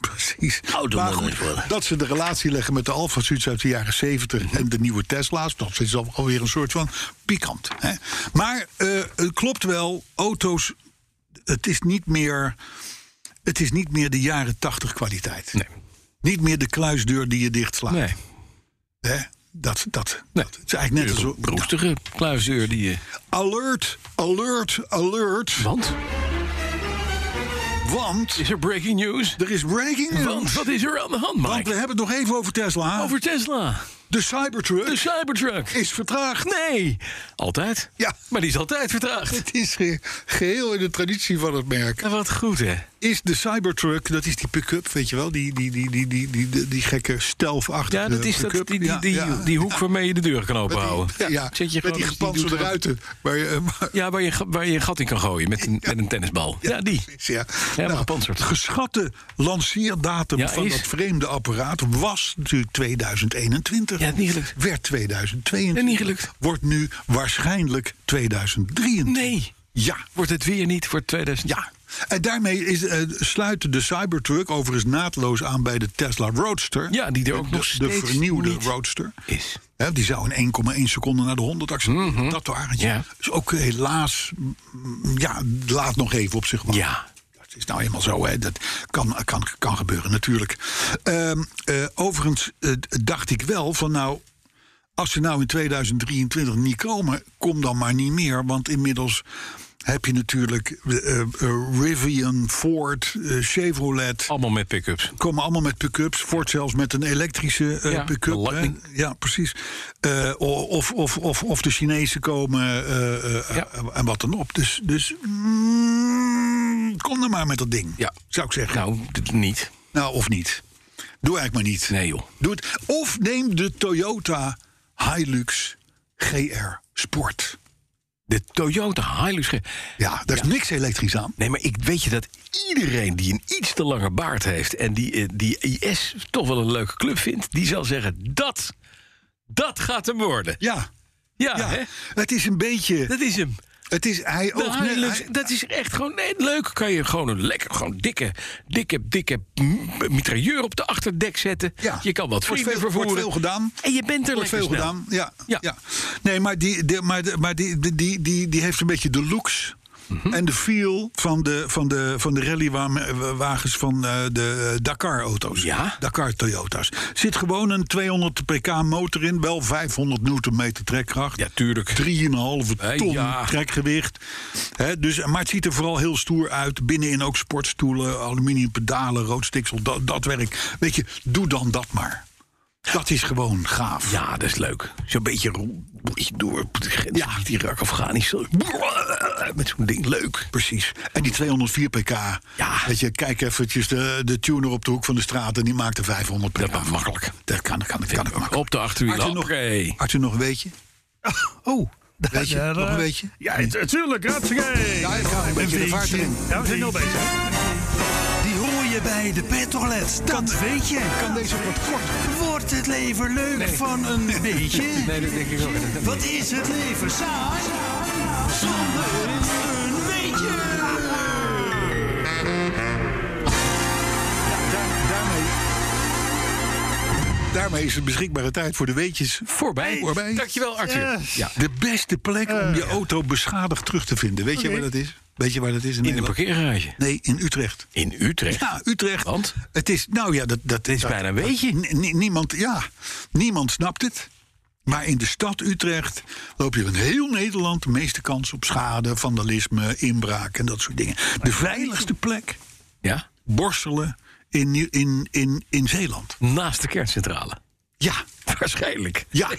D: precies.
E: Auto
D: maar
E: moet
D: goed,
E: het worden.
D: dat ze de relatie leggen met de Alfa Suits uit de jaren 70
E: Mhm.
D: en de nieuwe Tesla's, dat is al- alweer een soort van pikant. Hè? Maar eh, het klopt wel, auto's, het is niet meer, het is niet meer de jaren 80 kwaliteit.
E: Nee.
D: Niet meer de kluisdeur die je dichtslaat.
E: Nee.
D: Hè? Dat, dat,
E: Nee.
D: dat. Het is eigenlijk net als...
E: Roestige kluisdeur die je...
D: Alert, alert, alert.
E: Want?
D: Want
E: Is er breaking news?
D: er is breaking news.
E: Want wat is er aan de hand,
D: Want we
E: Mike?
D: hebben het nog even over Tesla.
E: Over Tesla.
D: de Cybertruck
E: De Cybertruck.
D: is vertraagd.
E: Nee. Altijd?
D: Ja.
E: Maar die is altijd vertraagd.
D: Het is ge- geheel in de traditie van het merk.
E: En wat goed, hè?
D: Is de Cybertruck, dat is die pick-up, weet je wel? Die, die, die, die, die, die, die, die gekke stelfachtige
E: Ja, dat is dat, die,
D: pick-up.
E: die, die,
D: Ja, ja.
E: die hoek waarmee je de deur kan
D: Met die-
E: openhouden.
D: Ja, ja,
E: Zet je
D: met
E: gewoon-
D: die
E: dus
D: gepantserde
E: doet-
D: ruiten. Maar, eh, maar-
E: Ja, waar je, ga- waar je een gat in kan gooien met een, met een tennisbal. Ja, die.
D: precies, Nou, ja.
E: Ja, gepantserd.
D: Geschatte lanceerdatum
E: Ja,
D: van
E: is-
D: dat vreemde apparaat was natuurlijk 2021.
E: Ja, niet gelukt.
D: Werd 2022.
E: Ja, niet gelukt.
D: Wordt nu waarschijnlijk 2023.
E: Nee.
D: Ja.
E: Wordt het weer niet voor 2000?
D: Ja. En daarmee is, eh, sluit de Cybertruck overigens naadloos aan bij de Tesla Roadster.
E: Ja, die er ook
D: de,
E: nog
D: De
E: steeds
D: vernieuwde
E: niet
D: Roadster.
E: Is.
D: Hè, die zou in 1,1 seconde naar de 100 accelereren. Dat torentje.
E: Mhm. Ja.
D: Dus ook helaas, mm, ja, laat nog even op zich wachten.
E: Ja.
D: Dat is nou eenmaal zo, hè. dat kan, kan, kan gebeuren natuurlijk. Ehm, eh, overigens eh, dacht ik wel van nou, als ze nou in 2023 niet komen, kom dan maar niet meer. Want inmiddels heb je natuurlijk eh, eh, Rivian, Ford, eh, Chevrolet.
E: Allemaal met pick-ups.
D: Komen allemaal met pick-ups. Ford zelfs met een elektrische eh
E: Ja,
D: pick-up.
E: een Lightning.
D: hè. Ja, precies. Eh, of, of, of, of de Chinezen komen eh, eh,
E: Ja.
D: eh, en wat dan op. Dus, dus mm, kom dan maar met dat ding.
E: Ja.
D: Zou ik zeggen. Nou,
E: Nou, d- niet.
D: of niet. Doe eigenlijk maar niet.
E: Nee, joh.
D: Doe het. Of neem de Toyota Hilux GR Sport.
E: De Toyota Hilux. ge-
D: Ja, daar is niks elektrisch aan.
E: Nee, maar ik weet je dat iedereen die een iets te lange baard heeft... en die, eh, die IS toch wel een leuke club vindt... die zal zeggen, dat, dat gaat hem worden.
D: Ja,
E: Ja,
D: ja.
E: Ah, hè?
D: het is een beetje...
E: Dat is hem.
D: Het is, hij
E: De
D: oogt net-
E: Hilux,
D: Nou, hij-
E: dat is echt gewoon nee, leuk. Kan je gewoon een lekker, gewoon dikke, dikke, dikke m- mitrailleur op de achterdek zetten.
D: Ja.
E: Je kan
D: Wordt
E: wat vrienden
D: veel-
E: vervoeren.
D: wordt veel gedaan.
E: En je bent er
D: wordt
E: lekker
D: veel
E: snel.
D: gedaan. Ja,
E: Ja.
D: ja. Nee, maar, die, die, maar, de- maar die, die- die, die, die heeft een beetje de looks.
E: Mhm.
D: En de feel van de, van de, van de rallywagens van eh, de Dakar-auto's.
E: Ja.
D: Dakar-Toyota's. Zit gewoon een 200 pk motor in. Wel 500 newtonmeter trekkracht.
E: Ja, tuurlijk.
D: 3,5
E: Hey,
D: ton
E: ja.
D: trekgewicht. Hè, dus, maar het ziet er vooral heel stoer uit. Binnenin ook sportstoelen, aluminium pedalen, rood stiksel, dat, dat werk. Weet je, doe dan dat maar. Dat is gewoon gaaf.
E: Ja, dat is leuk. Zo'n beetje ro- beetje door op de grens
D: Ja.
E: met Irak, Afghanistan. Met zo'n ding, leuk.
D: Precies. En die 204 pk.
E: Ja.
D: Weet je, kijk eventjes de, de tuner op de hoek van de straat... en die maakt er 500 pk.
E: Dat mag makkelijk.
D: Dat kan, dat kan, dat kan ik makkelijk.
E: Op de achterwielen.
D: Arthur nog,
E: Hoppakee.
D: Arthur, nog een beetje?
G: Oh.
D: Weet je? Nog een beetje?
G: Ja, natuurlijk. Hartstikke.
D: Ja, ik ga een beetje de vaart erin.
G: Ja, we zijn wel bezig.
H: Die hoor je je bij de petrolheads, dat weet je.
D: Kan deze ook wat korter?
H: Wordt het leven leuk van een beetje? Nee, dat denk ik ook. Wat is het leven saai zonder een beetje?
D: Daar- daarmee, daarmee is de beschikbare tijd voor de weetjes
E: Voorbij.
D: voorbij. Eh.
E: Dankjewel, Arthur. Ja.
D: De beste plek om je
E: Eh.
D: auto beschadigd terug te vinden. Weet je waar dat is? Weet je waar dat is?
E: In een
D: Nederland?
E: parkeergarage.
D: Nee, in Utrecht.
E: In Utrecht.
D: Ja, Utrecht.
E: Want?
D: Het is, nou ja, dat, dat is
E: bijna een weetje.
D: niemand, ja, niemand snapt het. Maar in de stad Utrecht loop je in heel Nederland de meeste kans op schade, vandalisme, inbraak en dat soort dingen. De veiligste plek,
E: Ja.
D: Borselen in, Nieu- in, in, in Zeeland.
E: Naast de kerncentrale. <laughs>
D: Ja,
E: Waarschijnlijk.
D: ja,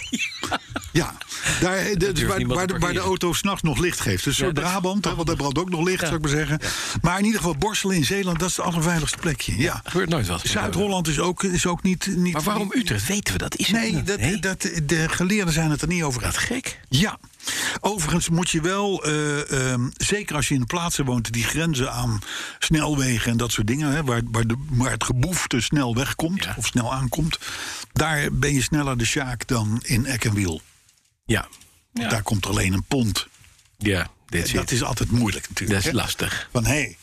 D: ja. Daar, de- dus
E: durft
D: waar,
E: niemand
D: waar de,
E: te
D: waar de
E: parkeren.
D: auto s'nachts nog licht geeft. Dus
E: Ja,
D: zo
E: dat-
D: Brabant, hè, want daar brandt ook nog licht, zou ik maar zeggen. Maar in ieder geval Borselen in Zeeland, dat is het allerveiligste plekje. Ja.
E: <laughs> Gebeurt nooit wat.
D: Zuid-Holland is ook, is ook niet, niet...
E: Maar waarom Utrecht? Weten we dat? Is het
D: Nee,
E: niet?
D: dat, dat, de geleerden zijn het er niet over
E: Wat
D: uit.
E: gek.
D: Ja, overigens moet je wel, eh, ehm, zeker als je in plaatsen woont die grenzen aan snelwegen en dat soort dingen, hè, waar, waar, de, waar het geboefte snel wegkomt
E: Ja.
D: of snel aankomt, daar ben je sneller de Sjaak dan in Eck en Wiel.
E: Ja.
D: Want
E: Ja.
D: Daar komt alleen een pond.
E: Ja.
D: En dat is altijd moeilijk natuurlijk.
E: Dat is
D: hè.
E: lastig.
D: Van hé, hey,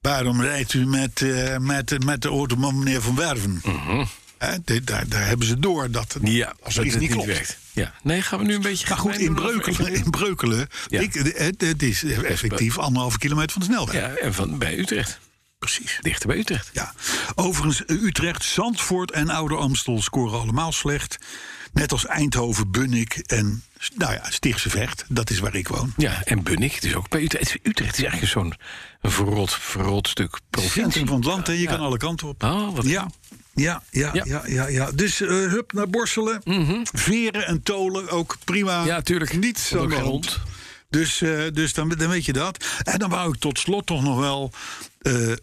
D: waarom rijdt u met, eh, met, met de auto van meneer Van Werven? Hè, dit- daar, daar hebben ze door dat,
E: Mhm. Ja.
D: als er iets
E: het
D: niet klopt.
E: Ja. Nee, gaan we nu een beetje...
D: Maar goed, in
E: gemeen doen over
D: Breukelen, <laughs>
E: Utrecht?
D: in Breukelen
E: Ja. eh,
D: ik, eh, het, het is effectief anderhalve kilometer van de snelweg.
E: Ja, en van, bij Utrecht.
D: precies.
E: Dichter bij Utrecht.
D: Ja. Overigens, eh, Utrecht, Zandvoort en Oude Amstel scoren allemaal slecht. Net als Eindhoven, Bunnik en nou ja, Stichtse Vecht. Dat is waar ik woon.
E: Ja, en Bunnik. Het is ook bij Utrecht. Utrecht is eigenlijk zo'n een verrot, verrot stuk provincie.
D: Centrum van het land, hè, je kan alle kanten op.
E: Oh, wat
D: Ja. Ja, ja,
E: Ja. Mhm.
D: ja, ja, ja, Dus eh, hup naar Borselen. Veren en tolen, ook prima.
E: Ja, tuurlijk.
D: Niet
E: Want
D: zo
E: ook geen
D: rond.
E: hond.
D: Dus, eh, dus dan, dan weet je dat. En dan wou ik tot slot toch nog wel eh, eh,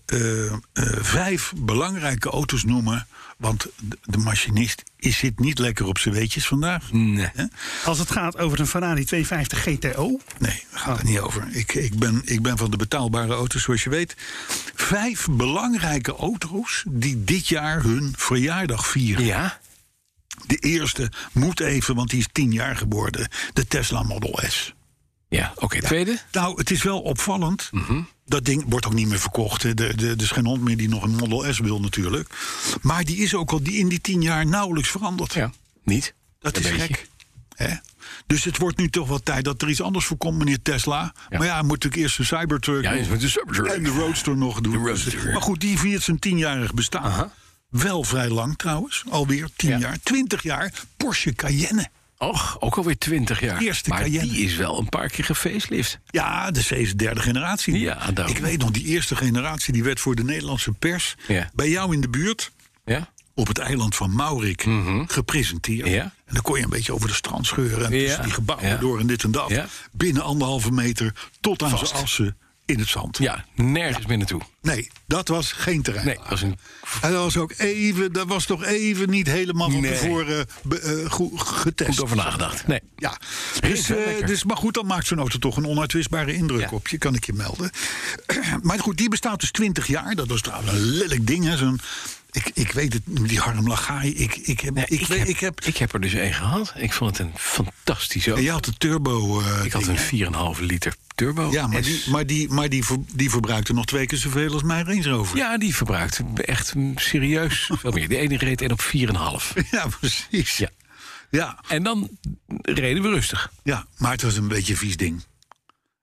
D: eh, vijf belangrijke auto's noemen. Want de- de machinist is, zit niet lekker op zijn weetjes vandaag.
E: Nee.
D: Hè?
G: Als het gaat over een Ferrari 250 GTO.
D: Nee, daar gaat het niet over. Ik, ik, ben, ik ben van de betaalbare auto's, zoals je weet. Vijf belangrijke auto's die dit jaar hun verjaardag vieren.
E: Ja?
D: De eerste moet even, want die is tien jaar geworden. De Tesla Model S.
E: Ja, oké. Tweede?
D: Nou, het is wel opvallend.
E: Mhm.
D: Dat ding wordt ook niet meer verkocht. hè. Er er- er is geen hond meer die nog een Model S wil natuurlijk. Maar die is ook al die in die tien jaar nauwelijks veranderd.
E: Ja. Niet?
D: Dat
E: Een
D: is
E: beetje.
D: gek. Hè? Dus het wordt nu toch wel tijd dat er iets anders voor komt, meneer Tesla.
E: Ja.
D: Maar ja, hij moet natuurlijk eerst de Cybertruck
E: Ja,
D: doen.
E: is met de Cybertruck.
D: en de Roadster nog doen.
E: De Roadster.
D: Maar goed, die viert zijn tienjarig bestaan.
E: Aha.
D: Wel vrij lang trouwens, alweer tien
E: Ja.
D: jaar. Twintig jaar Porsche Cayenne.
E: Och, ook alweer 20 jaar.
D: Eerste
E: maar
D: Cayenne.
E: die is wel een paar keer gefacelift.
D: Ja, de zeven- derde generatie.
E: Ja, daarom.
D: Ik weet nog, die eerste generatie die werd voor de Nederlandse pers...
E: Ja.
D: bij jou in de buurt,
E: Ja?
D: op het eiland van Maurik, gepresenteerd.
E: Mhm. Ja.
D: En dan kon je een beetje over de strand scheuren... en
E: Ja.
D: tussen die gebouwen
E: Ja.
D: door en dit en dat.
E: Ja.
D: Binnen anderhalve meter tot aan zijn assen in het zand.
E: Ja, nergens meer naartoe.
D: Nee, dat was geen terrein.
E: Nee, was een...
D: En dat was ook even, dat was toch even niet helemaal van
E: Nee.
D: tevoren be- eh, goed getest.
E: Goed over nagedacht. Nee.
D: Ja, dus,
E: wel
D: eh,
E: lekker.
D: dus, maar goed, dan maakt zo'n auto toch een onuitwisbare indruk
E: Ja.
D: op je, kan ik je melden. <clears throat> maar goed, die bestaat dus 20 jaar. Dat was trouwens een lelijk ding, hè? Zo'n, ik, ik weet het, die Harm Lagaai. Ik, ik heb,
E: Nee,
D: ik, weet- ik heb,
E: ik heb er dus één gehad. Ik vond het een fantastische auto.
D: je had de turbo. eh,
E: Ik had
D: ding.
E: een 4,5 liter turbo.
D: ja, maar, die, maar, die, maar die, ver- die verbruikte nog twee keer zoveel als mijn Range Rover.
E: Ja, die verbruikt echt mm, serieus veel meer. De ene reed 1 op 4,5.
D: <laughs> Ja, precies.
E: Ja.
D: ja.
E: En dan reden we rustig.
D: Ja, maar het was een beetje een vies ding.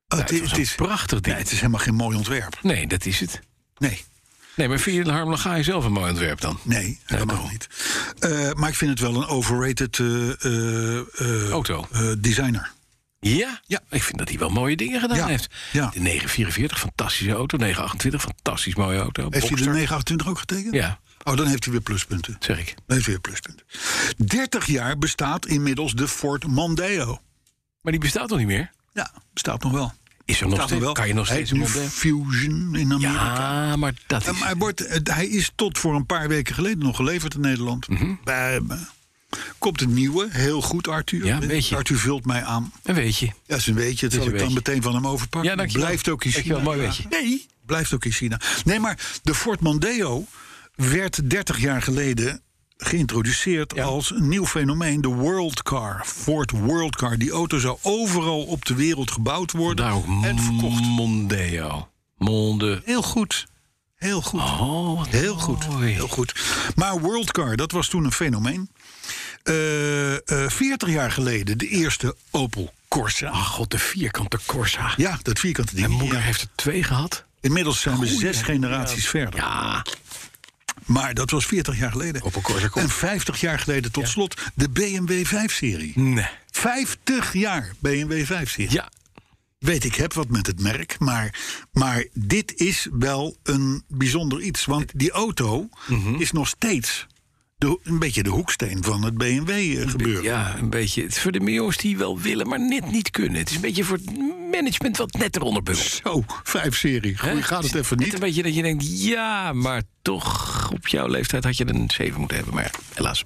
D: Oh,
E: Ja, het was een prachtig ding.
D: Nee, het is helemaal geen mooi ontwerp.
E: Nee, dat is het.
D: Nee,
E: Nee, maar vind je Harm Lagaai zelf een mooi ontwerp dan?
D: nee, helemaal
E: daarom.
D: niet. Eh, maar ik vind het wel een overrated eh, eh, eh,
E: Auto.
D: eh, designer.
E: Ja?
D: Ja.
E: Ik vind dat hij wel mooie dingen gedaan
D: Ja,
E: heeft.
D: ja.
E: De 944, fantastische auto. 928, fantastisch mooie auto.
D: Heeft hij de
E: Boxster.
D: 928 ook getekend?
E: Ja,
D: Oh, dan heeft hij weer pluspunten.
E: zeg ik.
D: Dan heeft hij weer pluspunten. 30 jaar bestaat inmiddels de Ford Mondeo.
E: Maar die bestaat nog niet meer?
D: Ja, bestaat nog wel.
E: Is er
D: Bestaat
E: nog
D: nog
E: steeds,
D: wel.
E: Kan je nog
D: Hij
E: steeds een
D: heet nu
E: model?
D: Fusion in Amerika.
E: Ja, maar dat
D: Ja,
E: is... Mhm.
D: maar hij, wordt, eh, hij is tot voor een paar weken geleden nog geleverd in Nederland. Bij- bij- Komt een nieuwe, heel goed Arthur.
E: Ja, een beetje.
D: Arthur vult mij aan.
E: Een weetje.
D: Dat is een beetje, dat
E: is
D: ik dan
E: een beetje.
D: meteen van hem overpak.
E: Ja, dankjewel.
D: Blijft ook in
E: Dankjewel,
D: China.
E: mooi weetje.
D: Nee, blijft ook in China. Nee, maar de Ford Mondeo werd 30 jaar geleden geïntroduceerd als een nieuw fenomeen. De World Car, Ford World Car. Die auto zou overal op de wereld gebouwd worden
E: Daar ook
D: en verkocht.
E: Mondeo. Monde.
D: Heel goed. Heel goed.
E: Oh, wat
D: Heel goed,
E: mooi.
D: heel goed. Maar Worldcar, dat was toen een fenomeen. Eh, eh, 40 jaar geleden de eerste Opel Corsa.
E: Ach god, de vierkante Corsa.
D: Ja, dat vierkante
E: Mijn
D: ding.
E: moeder
D: Ja.
E: heeft er twee gehad.
D: Inmiddels zijn we zes generaties verder.
E: Ja.
D: Maar dat was 40 jaar geleden.
E: Opel Corsa komt.
D: En 50 jaar geleden tot slot de BMW 5-serie.
E: Nee.
D: 50 jaar BMW 5-serie.
E: Ja.
D: Weet ik heb wat met het merk, maar, maar dit is wel een bijzonder iets. Want die auto
E: Mhm.
D: is nog steeds de, een beetje de hoeksteen van het BMW eh, gebeuren.
E: Ja, een beetje. Het is voor de miljoens die wel willen, maar net niet kunnen. Het is een beetje voor het management wat net eronder bungelt.
D: Zo, vijf serie. Goeie,
E: Hè?
D: gaat het
E: is
D: even
E: Net
D: niet.
E: een beetje dat je denkt, ja, maar toch op jouw leeftijd had je een 7 moeten hebben. Maar ja, helaas.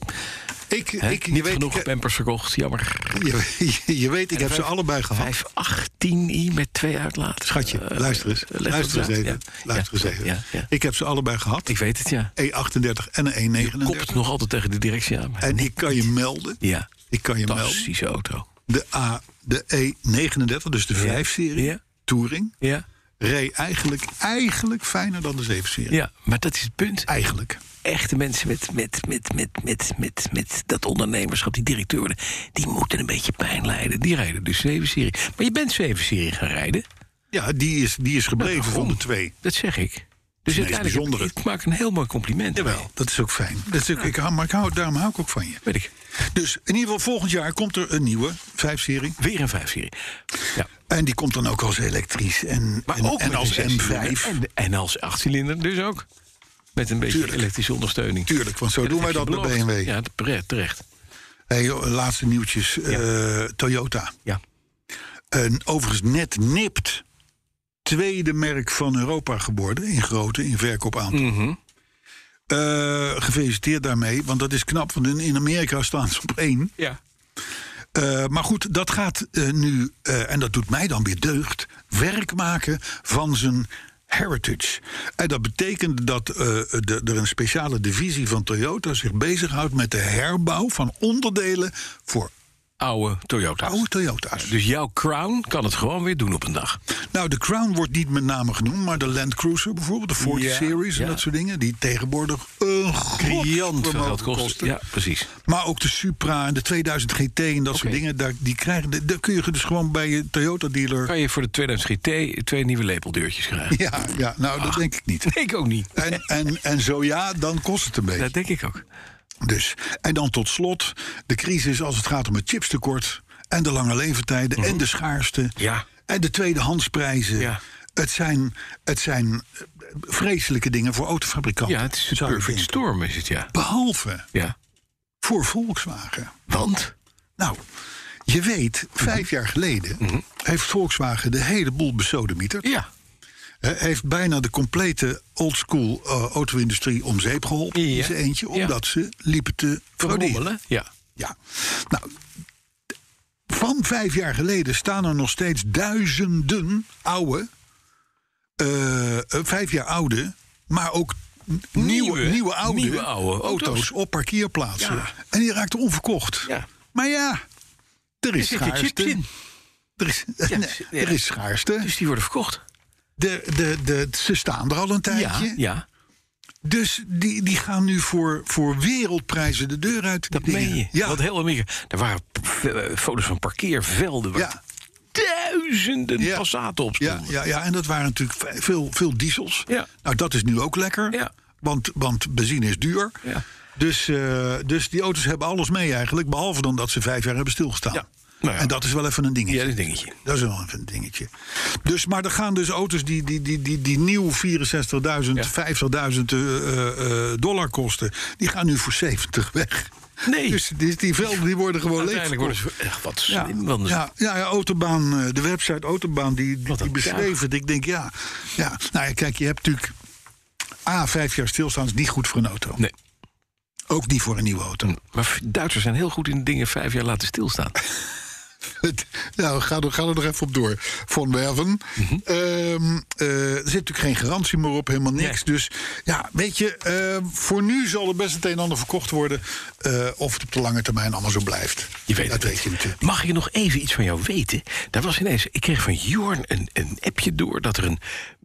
D: Ik,
E: Hè?
D: ik, je,
E: niet
D: weet,
E: genoeg
D: ik,
E: pampers verkocht, jammer.
D: <laughs> je, je weet, ik heb ze allebei gehad.
E: 518i met twee uitlaten.
D: Schatje,
E: Eh,
D: luister eens.
E: eh, leg
D: luister eens
E: het uit.
D: even.
E: Ja.
D: Luister
E: Ja,
D: eens even.
E: ja, ja.
D: Ik heb ze allebei gehad.
E: Ik weet het, ja.
D: E38 en een
E: Kopt
D: E39.
E: nog altijd tegen de directie aan. maar-
D: En ik kan je melden.
E: Ja,
D: Ik kan je melden.
E: fantastische auto.
D: De, A, de E39, dus de 5-serie,
E: Ja.
D: Touring,
E: Ja,
D: reed eigenlijk, eigenlijk fijner dan de 7-serie.
E: ja, maar dat is het punt.
D: Eigenlijk.
E: echte mensen met, met, met, met, met, met, met dat ondernemerschap, die directeur worden, die moeten een beetje pijn lijden. Die rijden dus 7-serie. Maar je bent 7-serie gaan rijden.
D: Ja, die is, die is gebleven van de twee.
E: Dat zeg ik. Dus
D: het meest
E: uiteindelijk,
D: bijzondere.
E: ik, ik maak een heel mooi compliment.
D: Jawel, Nou, dat is ook fijn. Dat is ook, ik, hou- maar ik hou, daarom hou ik ook van je.
E: Weet ik.
D: Dus in ieder geval volgend jaar komt er een nieuwe 5-serie.
E: Weer een 5-serie. Ja.
D: En die komt dan ook als elektrisch en,
E: Maar
D: en,
E: ook
D: en
E: met
D: als
E: een
D: M5.
E: zescilinder En, en als 8-cilinder dus ook. Met een beetje
D: Tuurlijk.
E: elektrische ondersteuning.
D: Tuurlijk, want zo doen wij
E: heb je
D: dat bij
E: beloofd.
D: BMW.
E: Ja, terecht. terecht.
D: Hey, joh, laatste nieuwtjes. eh, Toyota.
E: Ja.
D: Een overigens net nipt tweede merk van Europa geworden in grootte, in verkoopaantal. Eh, gefeliciteerd daarmee, want dat is knap, want in, in Amerika staan ze op één.
E: ja.
D: Eh, maar goed, dat gaat eh, nu, eh, en dat doet mij dan weer deugd, werk maken van zijn heritage. En dat betekent dat eh, de- er een speciale divisie van Toyota zich bezighoudt met de herbouw van onderdelen voor
E: Oude Toyota's.
D: oude Toyota's.
E: Dus jouw Crown kan het gewoon weer doen op een dag.
D: Nou, de Crown wordt niet met name genoemd, maar de Land Cruiser bijvoorbeeld, de 40
E: Ja,
D: Series en
E: ja.
D: dat soort dingen, die tegenwoordig een
E: Briljant
D: groot
E: veel geld kost.
D: kosten.
E: Ja, precies.
D: Maar ook de Supra en de 2000 GT en dat soort dingen, daar, die krijgen, de- daar kun je dus gewoon bij je Toyota dealer.
E: Kan je voor de 2000 GT twee nieuwe lepeldeurtjes krijgen?
D: Ja, ja, nou, dat denk ik niet.
E: Nee, ik ook niet.
D: En, en, en zo ja, dan kost het een beetje.
E: Dat denk ik ook.
D: Dus. En dan tot slot de crisis als het gaat om het chipstekort. En de lange leeftijden. En de schaarste.
E: Ja.
D: En de tweedehandsprijzen.
E: Ja.
D: Het, zijn, het zijn eh, vreselijke dingen voor autofabrikanten.
E: Ja, het is een
D: zou ik
E: perfect
D: denken.
E: storm is het, ja.
D: Behalve
E: Ja.
D: voor Volkswagen.
E: Want?
D: Nou, je weet, vijf jaar geleden heeft Volkswagen de hele boel besodemieterd.
E: Mhm. Ja.
D: Hij heeft bijna de complete oldschool eh, auto-industrie om zeep geholpen.
E: Ja.
D: In zijn eentje,
E: Ja.
D: omdat ze liepen te frauderen.
E: Verrommelen? Ja.
D: Ja. Nou, d- van vijf jaar geleden staan er nog steeds duizenden oude, eh, eh, vijf jaar oude, maar ook n- nieuwe,
E: Nieuwe,
D: nieuwe, oude,
E: nieuwe oude
D: auto's.
E: auto's.
D: op parkeerplaatsen.
E: Ja.
D: En die raakten onverkocht.
E: Ja.
D: Maar ja, er
E: Er
D: is
E: zitten chips
D: schaarste.
E: in.
D: Er is, <laughs>
E: ja.
D: er is schaarste.
E: Dus die worden verkocht.
D: De, de, de, ze staan er al een tijdje.
E: Ja. Ja.
D: Dus die, die gaan nu voor, voor wereldprijzen de deur uit.
E: Dat
D: Die dingen.
E: meen je.
D: Ja.
E: Want heel Amerika. Er waren p- v- eh, foto's van parkeervelden waar
D: Ja.
E: duizenden
D: Ja.
E: Passaten op
D: Ja,
E: stonden.
D: ja, ja, en dat waren natuurlijk ve- veel, veel diesels.
E: Ja.
D: Nou, dat is nu ook lekker.
E: Ja.
D: Want, want benzine is duur.
E: Ja.
D: Dus, eh, dus die auto's hebben alles mee eigenlijk. Behalve dan dat ze vijf jaar hebben stilgestaan.
E: Ja. Nou ja.
D: En dat is wel even een dingetje.
E: Ja, dat is een dingetje.
D: Dat is wel even een dingetje. Dus, maar er gaan dus auto's die, die, die, die, die nieuw 64.000, 50.000 eh, eh, dollar kosten. Die gaan nu voor 70 weg.
E: Nee.
D: Dus die, die velden die worden gewoon leeg.
E: Uiteindelijk worden ze... Echt, wat slim. want er-
D: Ja, ja, ja, Autobaan, eh, de website Autobaan, die, die,
E: Wat een
D: die beschreef
E: dag.
D: het. Ik denk, ja, ja. Nou ja, kijk, je hebt natuurlijk... A, vijf jaar stilstaan is niet goed voor een auto.
E: Nee.
D: Ook niet voor een nieuwe auto.
E: Maar Duitsers zijn heel goed in dingen vijf jaar laten stilstaan.
D: Het- <laughs> nou, ga er, ga er nog even op door. Van Werven. Ehm, eh, er zit natuurlijk geen garantie meer op, helemaal niks. Dus ja, weet je, eh, voor nu zal er best het een en ander verkocht worden. eh, of het op de lange termijn allemaal zo blijft.
E: Je weet
D: dat
E: het
D: weet je natuurlijk.
E: Mag ik nog even iets van jou weten? Daar was ineens, ik kreeg van Jorn een, een appje door dat er een,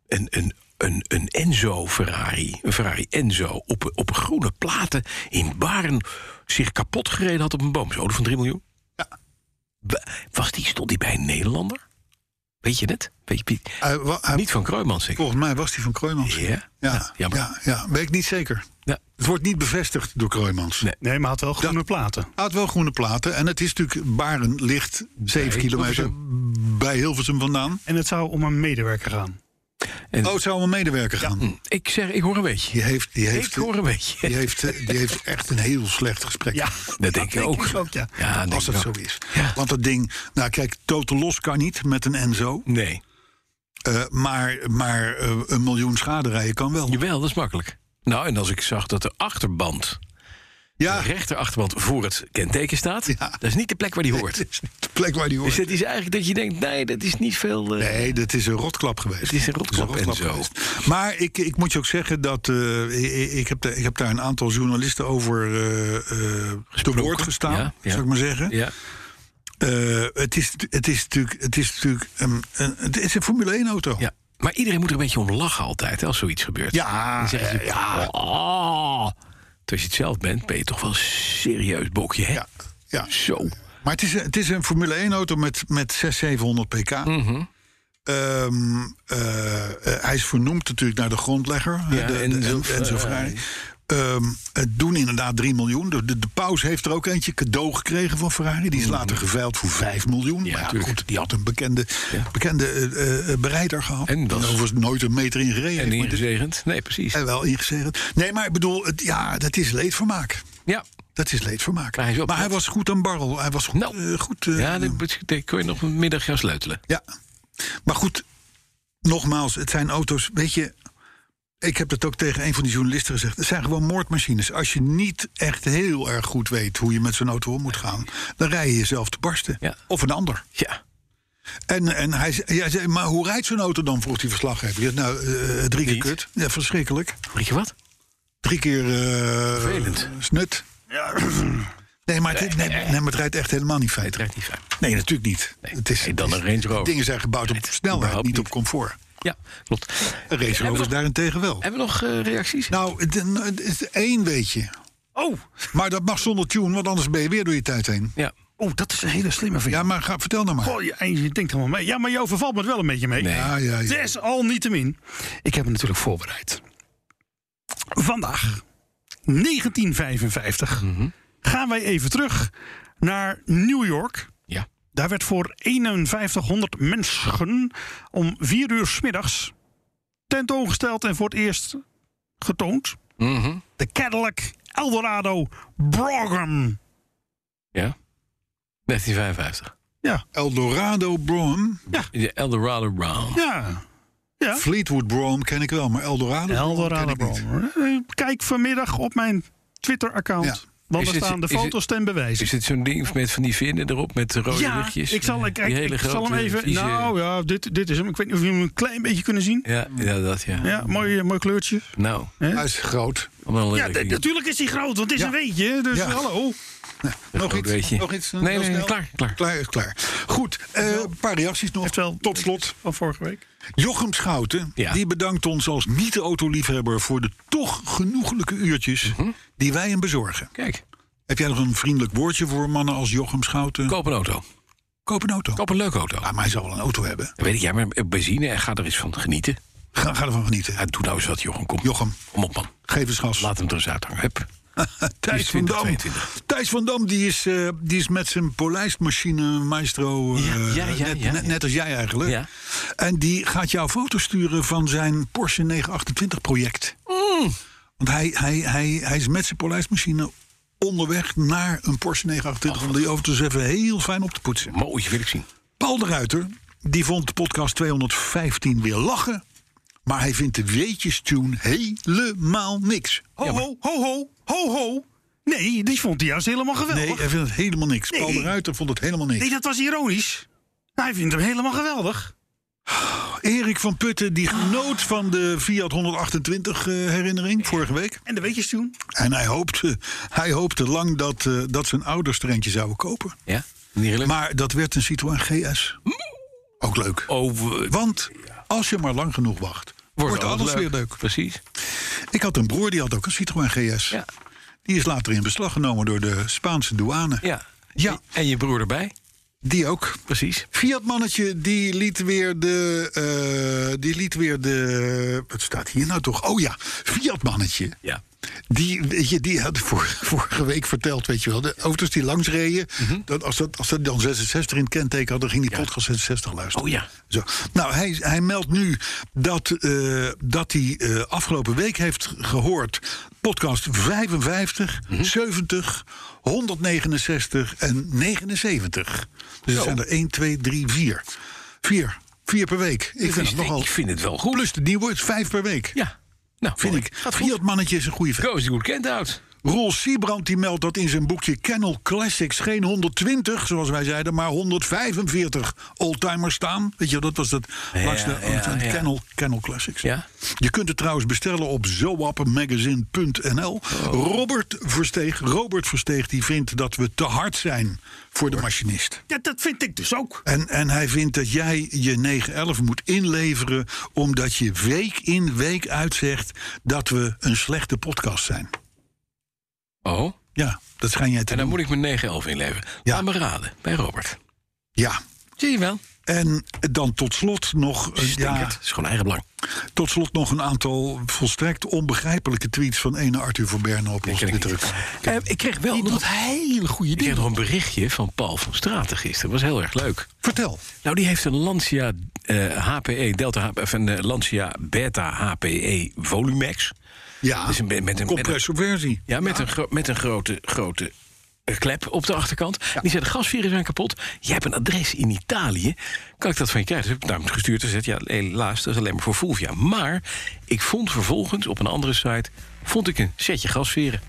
E: een, een, een, een Enzo Ferrari, een Ferrari Enzo, op, op groene platen in Baren zich kapot gereden had op een boom. Zo'n auto van 3 miljoen. Ja. Was die, stond die bij een Nederlander? Weet je het? Weet je, wie-
D: Hij wa- hij-
E: niet van Kruijmans, zeker?
D: Volgens mij was die van Kruijmans.
E: Ja?
D: Ja,
E: Ja,
D: ja,
E: jammer.
D: ja, weet ik niet zeker.
E: Ja.
D: Het wordt niet bevestigd door Kruijmans.
E: Nee.
G: Nee, maar had wel groene platen.
D: Hij had wel groene platen. En het is natuurlijk Baren ligt 7 kilometer bij Hilversum vandaan.
G: En het zou om een medewerker gaan.
E: En-
D: Oh, het zou om een medewerker gaan.
E: Hm. Ik zeg, ik hoor een beetje.
D: Die heeft, die heeft,
E: Ik hoor een beetje.
D: Die heeft, eh, die heeft echt een heel slecht gesprek.
G: Ja,
E: Dat denk ik ook.
G: ik ook, ja.
E: Ja, denk
D: als
E: ik
D: dat zo
E: ook.
D: is.
E: Ja.
D: Want dat ding, nou kijk, totaal los kan niet met een Enzo.
E: Nee.
D: eh, maar maar eh, een miljoen schade rijden kan wel.
E: Jawel, dat is makkelijk. Nou, en als ik zag dat de achterband, de
D: Ja,
E: rechterachterband voor het kenteken staat,
D: Ja.
E: dat is niet de plek waar die hoort.
D: dit is niet de plek waar die
E: Dus
D: hoort.
E: dat is eigenlijk dat je denkt, nee, dat is niet veel. eh,
D: Nee, dat is een rotklap geweest.
E: Het is een rotklap
D: Dat is
E: en zo.
D: geweest. Maar ik, ik moet je ook zeggen dat eh, ik, ik heb daar- ik heb daar een aantal journalisten over eh, eh, te woord gestaan,
E: ja, ja.
D: zou ik maar zeggen.
E: Ja.
D: Eh, het, is, het is natuurlijk, het is natuurlijk ehm, een, het is een Formule 1 auto.
E: ja. Maar iedereen moet er een beetje om lachen altijd, hè, als zoiets gebeurt.
D: Ja,
E: Dan zeggen ze,
D: eh, ja.
E: "Oh." Terwijl als je het zelf bent, ben je toch wel een serieus bokje, hè?
D: Ja, ja.
E: Zo.
D: Maar het is, een- het is een Formule 1 auto met, met 600, 700 pk.
E: Mhm.
D: Ehm, eh, eh, hij is vernoemd natuurlijk naar de grondlegger, hè,
E: Ja, eh,
D: de, de,
E: Enzo
D: en, Enzo Ferrari. Ehm, het doen inderdaad 3 miljoen. De, de, de paus heeft er ook eentje cadeau gekregen van Ferrari. Die is later geveild voor 5 miljoen. maar ja,
E: Mhm. tuurlijk.
D: goed, die had een bekende, bekende eh, eh, bereider gehad.
E: En dat is-
D: overigens nooit een meter in gereden.
E: En
D: heeft, maar
E: ingezegend. Nee, precies.
D: dit- en wel ingezegend. Nee, maar ik bedoel, het, ja, dat is leedvermaak.
E: Ja.
D: Dat is leedvermaak.
E: Maar hij is wel-
D: was goed aan barrel. Hij was goed.
E: Nou.
D: eh, goed eh,
E: Ja, dan dan kon je nog een middag gaan sleutelen.
D: ja. Maar goed, nogmaals, het zijn auto's. Weet je, ik heb dat ook tegen een van die journalisten gezegd. Het zijn gewoon moordmachines. Als je niet echt heel erg goed weet hoe je met zo'n auto om moet gaan, dan rij je jezelf te barsten.
E: Ja.
D: Of een ander.
E: Ja.
D: En, en hij, ze- jij zei, maar hoe rijdt zo'n auto dan? vroeg die verslaggever. Ik zei, nou, eh, drie keer
E: Niet.
D: kut. Ja, verschrikkelijk.
E: Weet je wat?
D: Drie keer eh,
E: Vervelend.
D: snut. Nee, maar het, nee, nee, maar het rijdt echt helemaal niet
E: Het
D: feit.
E: rijdt niet fijn.
D: Nee, natuurlijk niet.
E: Nee,
D: Het is,
E: nee, dan
D: het is-
E: een Range Rover.
D: Dingen zijn gebouwd op snelheid,
E: überhaupt
D: niet op
E: niet.
D: comfort.
E: Ja, klopt.
D: Een Range Rover is daarentegen wel.
E: Hebben we nog eh, reacties?
D: Nou, het- het is één beetje.
G: Oh,
D: Maar dat mag zonder tune, want anders ben je weer door je tijd heen.
E: Ja.
G: oh dat is een hele slimme vink.
D: Ja, maar ga, vertel nou maar.
G: Goh, Oh, je, je denkt helemaal mee. Ja, maar jou vervalt me het wel een beetje mee.
E: Nee.
D: Ja, ja, ja.
G: Desalniettemin, ik heb hem natuurlijk voorbereid. Vandaag, 1955,
E: Mhm.
G: gaan wij even terug naar New York.
E: Ja.
G: Daar werd voor 5100 mensen om 4 uur 's middags tentoongesteld en voor het eerst getoond.
E: Mhm.
G: De Cadillac Eldorado Brougham.
E: Ja. 1955.
G: Ja,
D: Eldorado Brougham.
E: De Eldorado Brown.
G: ja. Ja.
D: Fleetwood Brougham ken ik wel, maar Eldorado, ken
G: Eldorado
D: ik niet.
G: Brougham. Eh, Kijk vanmiddag op mijn Twitter-account.
D: Ja.
G: Want
E: Is
G: er
E: het-
G: staan de
E: is het-
G: foto's ten bewijs.
E: Is dit zo'n ding met van die vinnen erop met de rode
G: ja,
E: luchtjes?
G: ik zal, ik,
E: Die
G: ik,
E: hele
G: ik zal hem
E: grote,
G: even...
E: vieze-
G: Nou ja, dit, dit is hem. Ik weet niet of jullie hem een klein beetje kunnen zien.
E: Ja, ja, dat ja.
G: Ja, mooi, eh, mooi kleurtje.
E: Nou,
D: Hij is groot.
E: allemaal een
G: Ja,
E: lelijk
G: d-
E: ding.
G: natuurlijk is hij groot, want het is
D: Ja.
G: een weetje. Dus
D: Ja.
G: hallo.
D: Nog
E: groot
D: iets?
E: weetje.
D: Nog iets?
E: Nee,
D: Heel
E: nee, nee,
D: snel?
E: klaar, klaar.
D: Klaar is klaar. Goed, eh, een paar reacties nog.
G: Heeft wel-
D: Tot slot.
G: Van vorige week.
D: Jochem Schouten,
E: Ja.
D: die bedankt ons als niet-autoliefhebber... voor de toch genoegelijke uurtjes
G: Mhm.
D: die wij hem bezorgen.
E: Kijk,
D: Heb jij nog een vriendelijk woordje voor mannen als Jochem Schouten?
E: koop een auto.
D: Koop een auto.
E: Koop een leuke auto.
D: Ah, maar hij zal wel een auto hebben.
E: Dat weet ik, ja, maar benzine, eh, ga er eens van genieten.
D: Ga, ga ervan genieten.
E: Ja, doe nou eens wat, Jochem. Kom,
D: Jochem,
E: kom op, man.
D: geef eens gas. Eh,
E: Laat hem er eens uithangen. Hup.
D: Thijs van Dam.
E: 22.
D: Thijs van Dam die is, eh, die is met zijn polijstmachine maestro. eh,
E: Ja, ja, ja,
D: net,
E: ja,
D: net,
E: ja.
D: net als jij eigenlijk.
E: Ja.
D: En die gaat jou foto's sturen van zijn Porsche 928 project.
E: Mm.
D: Want hij, hij, hij, hij is met zijn polijstmachine onderweg naar een Porsche 928. om die overigens even heel fijn op te poetsen.
E: Mooi, wil ik zien.
D: Paul de Ruiter die vond de podcast 215 weer lachen. Maar
E: Oh.
D: hij vindt de weetjes-tune helemaal niks.
G: Ho, ho, ho, ho, ho, ho. Nee, die vond hij juist helemaal geweldig.
D: Nee,
G: Nee,
D: hij vindt het helemaal niks.
G: Nee.
D: Paul de Ruiter vond het helemaal niks.
G: dat was ironisch. Hij vindt hem helemaal geweldig.
D: Erik van Putten die genoot van de Fiat 128 eh, herinnering vorige week.
G: En de weetjes toen?
D: En hij hoopte, hij hoopte lang dat, eh, dat zijn ouders er eentje zouden kopen.
E: Ja? Niet gelukt?
D: Maar dat werd een Citroën GS. Ook leuk.
E: oh, we-
D: Want als je maar lang genoeg wacht, wordt,
E: ook
D: alles weer leuk.
E: Precies.
D: Ik had een broer die had ook een Citroën GS.
E: Ja.
D: Die is later in beslag genomen door de Spaanse douane.
E: ja.
D: Ja.
E: En je broer erbij.
D: Die ook.
E: Precies.
D: Fiat-mannetje, die liet weer de. eh, die liet weer de. Wat staat hier nou toch? Oh ja, Fiat-mannetje.
E: Ja.
D: Die, weet je, die had vor- <laughs> vorige week verteld, weet je wel. De auto's die langs reden.
E: Mhm.
D: dat als, dat, als dat dan 66 in het kenteken had, dan ging die podcast 66 luisteren.
E: Oh ja.
D: Zo. Nou, hij, hij meldt nu dat, eh, dat hij eh, afgelopen week heeft gehoord... podcast 55,
E: Mhm.
D: 70, 169 en 79. Dus dat zijn er 1, 2, 3, 4. 4. 4 per week. Ik vind
E: is-
D: het nogal...
E: Dus ik vind het wel goed.
D: Plus de nieuwe is 5 per week.
E: Nou, Ja. Nou,
D: Vind
E: mooi.
D: ik.
E: Gaat goed.
D: Fiat mannetje is een goede vent.
E: Go is the good kent out.
D: Roel Siebrand die meldt dat in zijn boekje Kennel Classics geen 120, zoals wij zeiden, maar 145 oldtimers staan. Weet je, dat was dat
E: Ja,
D: langs de
E: ja,
D: aan de
E: ja.
D: Kennel, Kennel Classics.
E: Ja.
D: Je kunt het trouwens bestellen op zoappenmagazine.nl. Robert Versteeg, Robert Versteeg die vindt dat we te hard zijn voor de machinist.
G: Ja, dat vind ik dus ook.
D: En, en hij vindt dat jij je 911 moet inleveren omdat je week in week uit zegt dat we een slechte podcast zijn.
E: Oh.
D: Ja, dat schijn jij te
E: En dan
D: doen.
E: moet ik mijn 9-11 inleveren.
D: Ja.
E: Laat me raden. Bij Robert.
D: Ja.
E: Zie je wel.
D: En dan tot slot nog, eh, ja,
E: Stinkert. Het is gewoon eigen belang.
D: tot slot nog een aantal volstrekt onbegrijpelijke tweets van ene Arthur van Berne op ons
E: ken ik
D: Twitter.
E: Eh, ik kreeg wel nog wat hele goede dingen. Ik kreeg nog een berichtje van Paul van Straten gisteren. was heel erg leuk.
D: Vertel.
E: Nou, die heeft een Lancia eh, HPE Delta, H- of een eh, Lancia Beta HPE Volumex.
D: Ja,
E: Dus een be- met een-
D: compressorversie.
E: Ja, met een, gro- met een grote, grote eh, klep op de achterkant. Die zei, de gasvieren zijn kapot. Jij hebt een adres in Italië. Kan ik dat van je krijgen? Dus heb ik naar hem gestuurd en gezegd... ja, helaas, dat is alleen maar voor Fulvia. Maar ik vond vervolgens op een andere site... vond ik een setje gasvieren.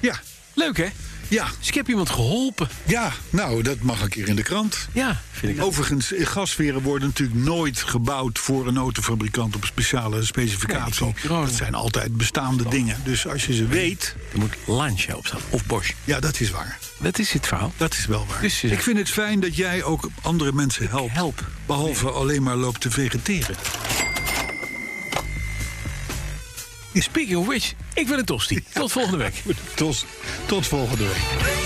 D: Ja,
E: Leuk, hè?
D: ja,
E: Dus ik heb iemand geholpen.
D: ja. Nou, dat mag een keer in de krant.
E: Ja, vind ik ook.
D: Overigens, eh, gasveren worden natuurlijk nooit gebouwd voor een autofabrikant op speciale specificatie.
E: Nee, die Oh. koop je
D: dat zijn altijd bestaande dingen. Dus als je ze weet,
E: Er moet Lancia op staan. Of Bosch.
D: ja, dat is waar.
E: Dat is het verhaal.
D: Dat is wel waar.
E: Dus, eh,
D: ik vind het fijn dat jij ook andere mensen helpt.
E: help.
D: Behalve alleen maar loopt te vegeteren.
E: Speaking of which, ik wil een tosti. Tot volgende week.
D: Tot, tot volgende week.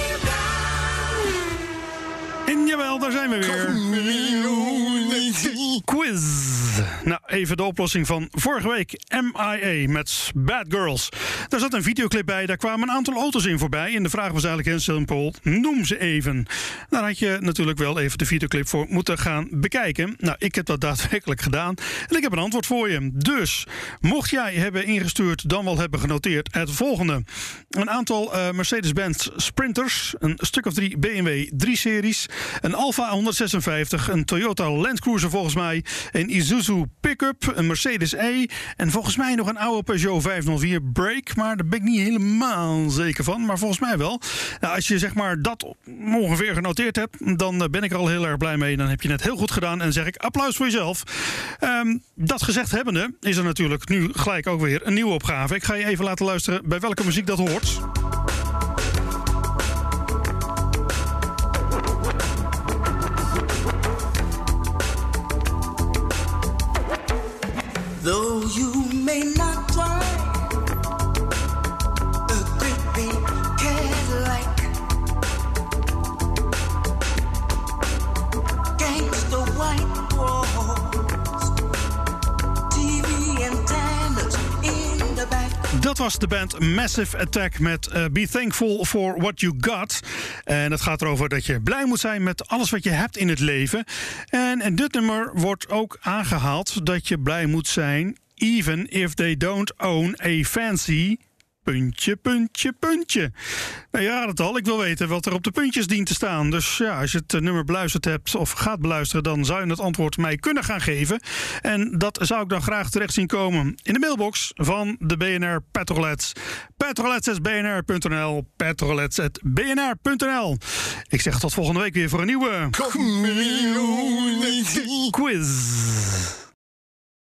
G: En jawel, daar zijn we weer. Quiz. Nou, even de oplossing van vorige week. MIA met Bad Girls. Daar zat een videoclip bij, daar kwamen een aantal auto's in voorbij. En de vraag was eigenlijk heel simpel, noem ze even. Daar had je natuurlijk wel even de videoclip voor moeten gaan bekijken. Nou, ik heb dat daadwerkelijk gedaan. En ik heb een antwoord voor je. Dus, mocht jij hebben ingestuurd, dan wel hebben genoteerd het volgende. Een aantal eh, Mercedes-Benz Sprinters, een stuk of drie BMW 3-series, een Alfa 156, een Toyota Land Cruiser volgens mij, een Isuzu Pickup, een Mercedes E en volgens mij nog een oude Peugeot 504 Break, maar daar ben ik niet helemaal zeker van, maar volgens mij wel. Nou, als je zeg maar dat ongeveer genoteerd hebt, dan eh, ben ik er al heel erg blij mee. Dan heb je het heel goed gedaan en zeg ik applaus voor jezelf. Ehm, dat gezegd hebbende is er natuurlijk nu gelijk ook weer een nieuwe opgave. Ik ga je even laten luisteren bij welke muziek dat hoort.
J: Though you may not drive a great big Cadillac, gangster white walls, TV antennas in the back.
G: Dat was de band Massive Attack met eh, Be Thankful for What You Got. En dat gaat erover dat je blij moet zijn met alles wat je hebt in het leven. En in dit nummer wordt ook aangehaald dat je blij moet zijn, even if they don't own a fancy Puntje, puntje, puntje. Nou, je raadt het al. Ik wil weten wat er op de puntjes dient te staan. Dus ja, als je het eh, nummer beluisterd hebt of gaat beluisteren... dan zou je het antwoord mij kunnen gaan geven. En dat zou ik dan graag terecht zien komen in de mailbox van de BNR Petrolets. Petrolets.bnr.nl Petrolets.bnr.nl Ik zeg tot volgende week weer voor een nieuwe... Quiz.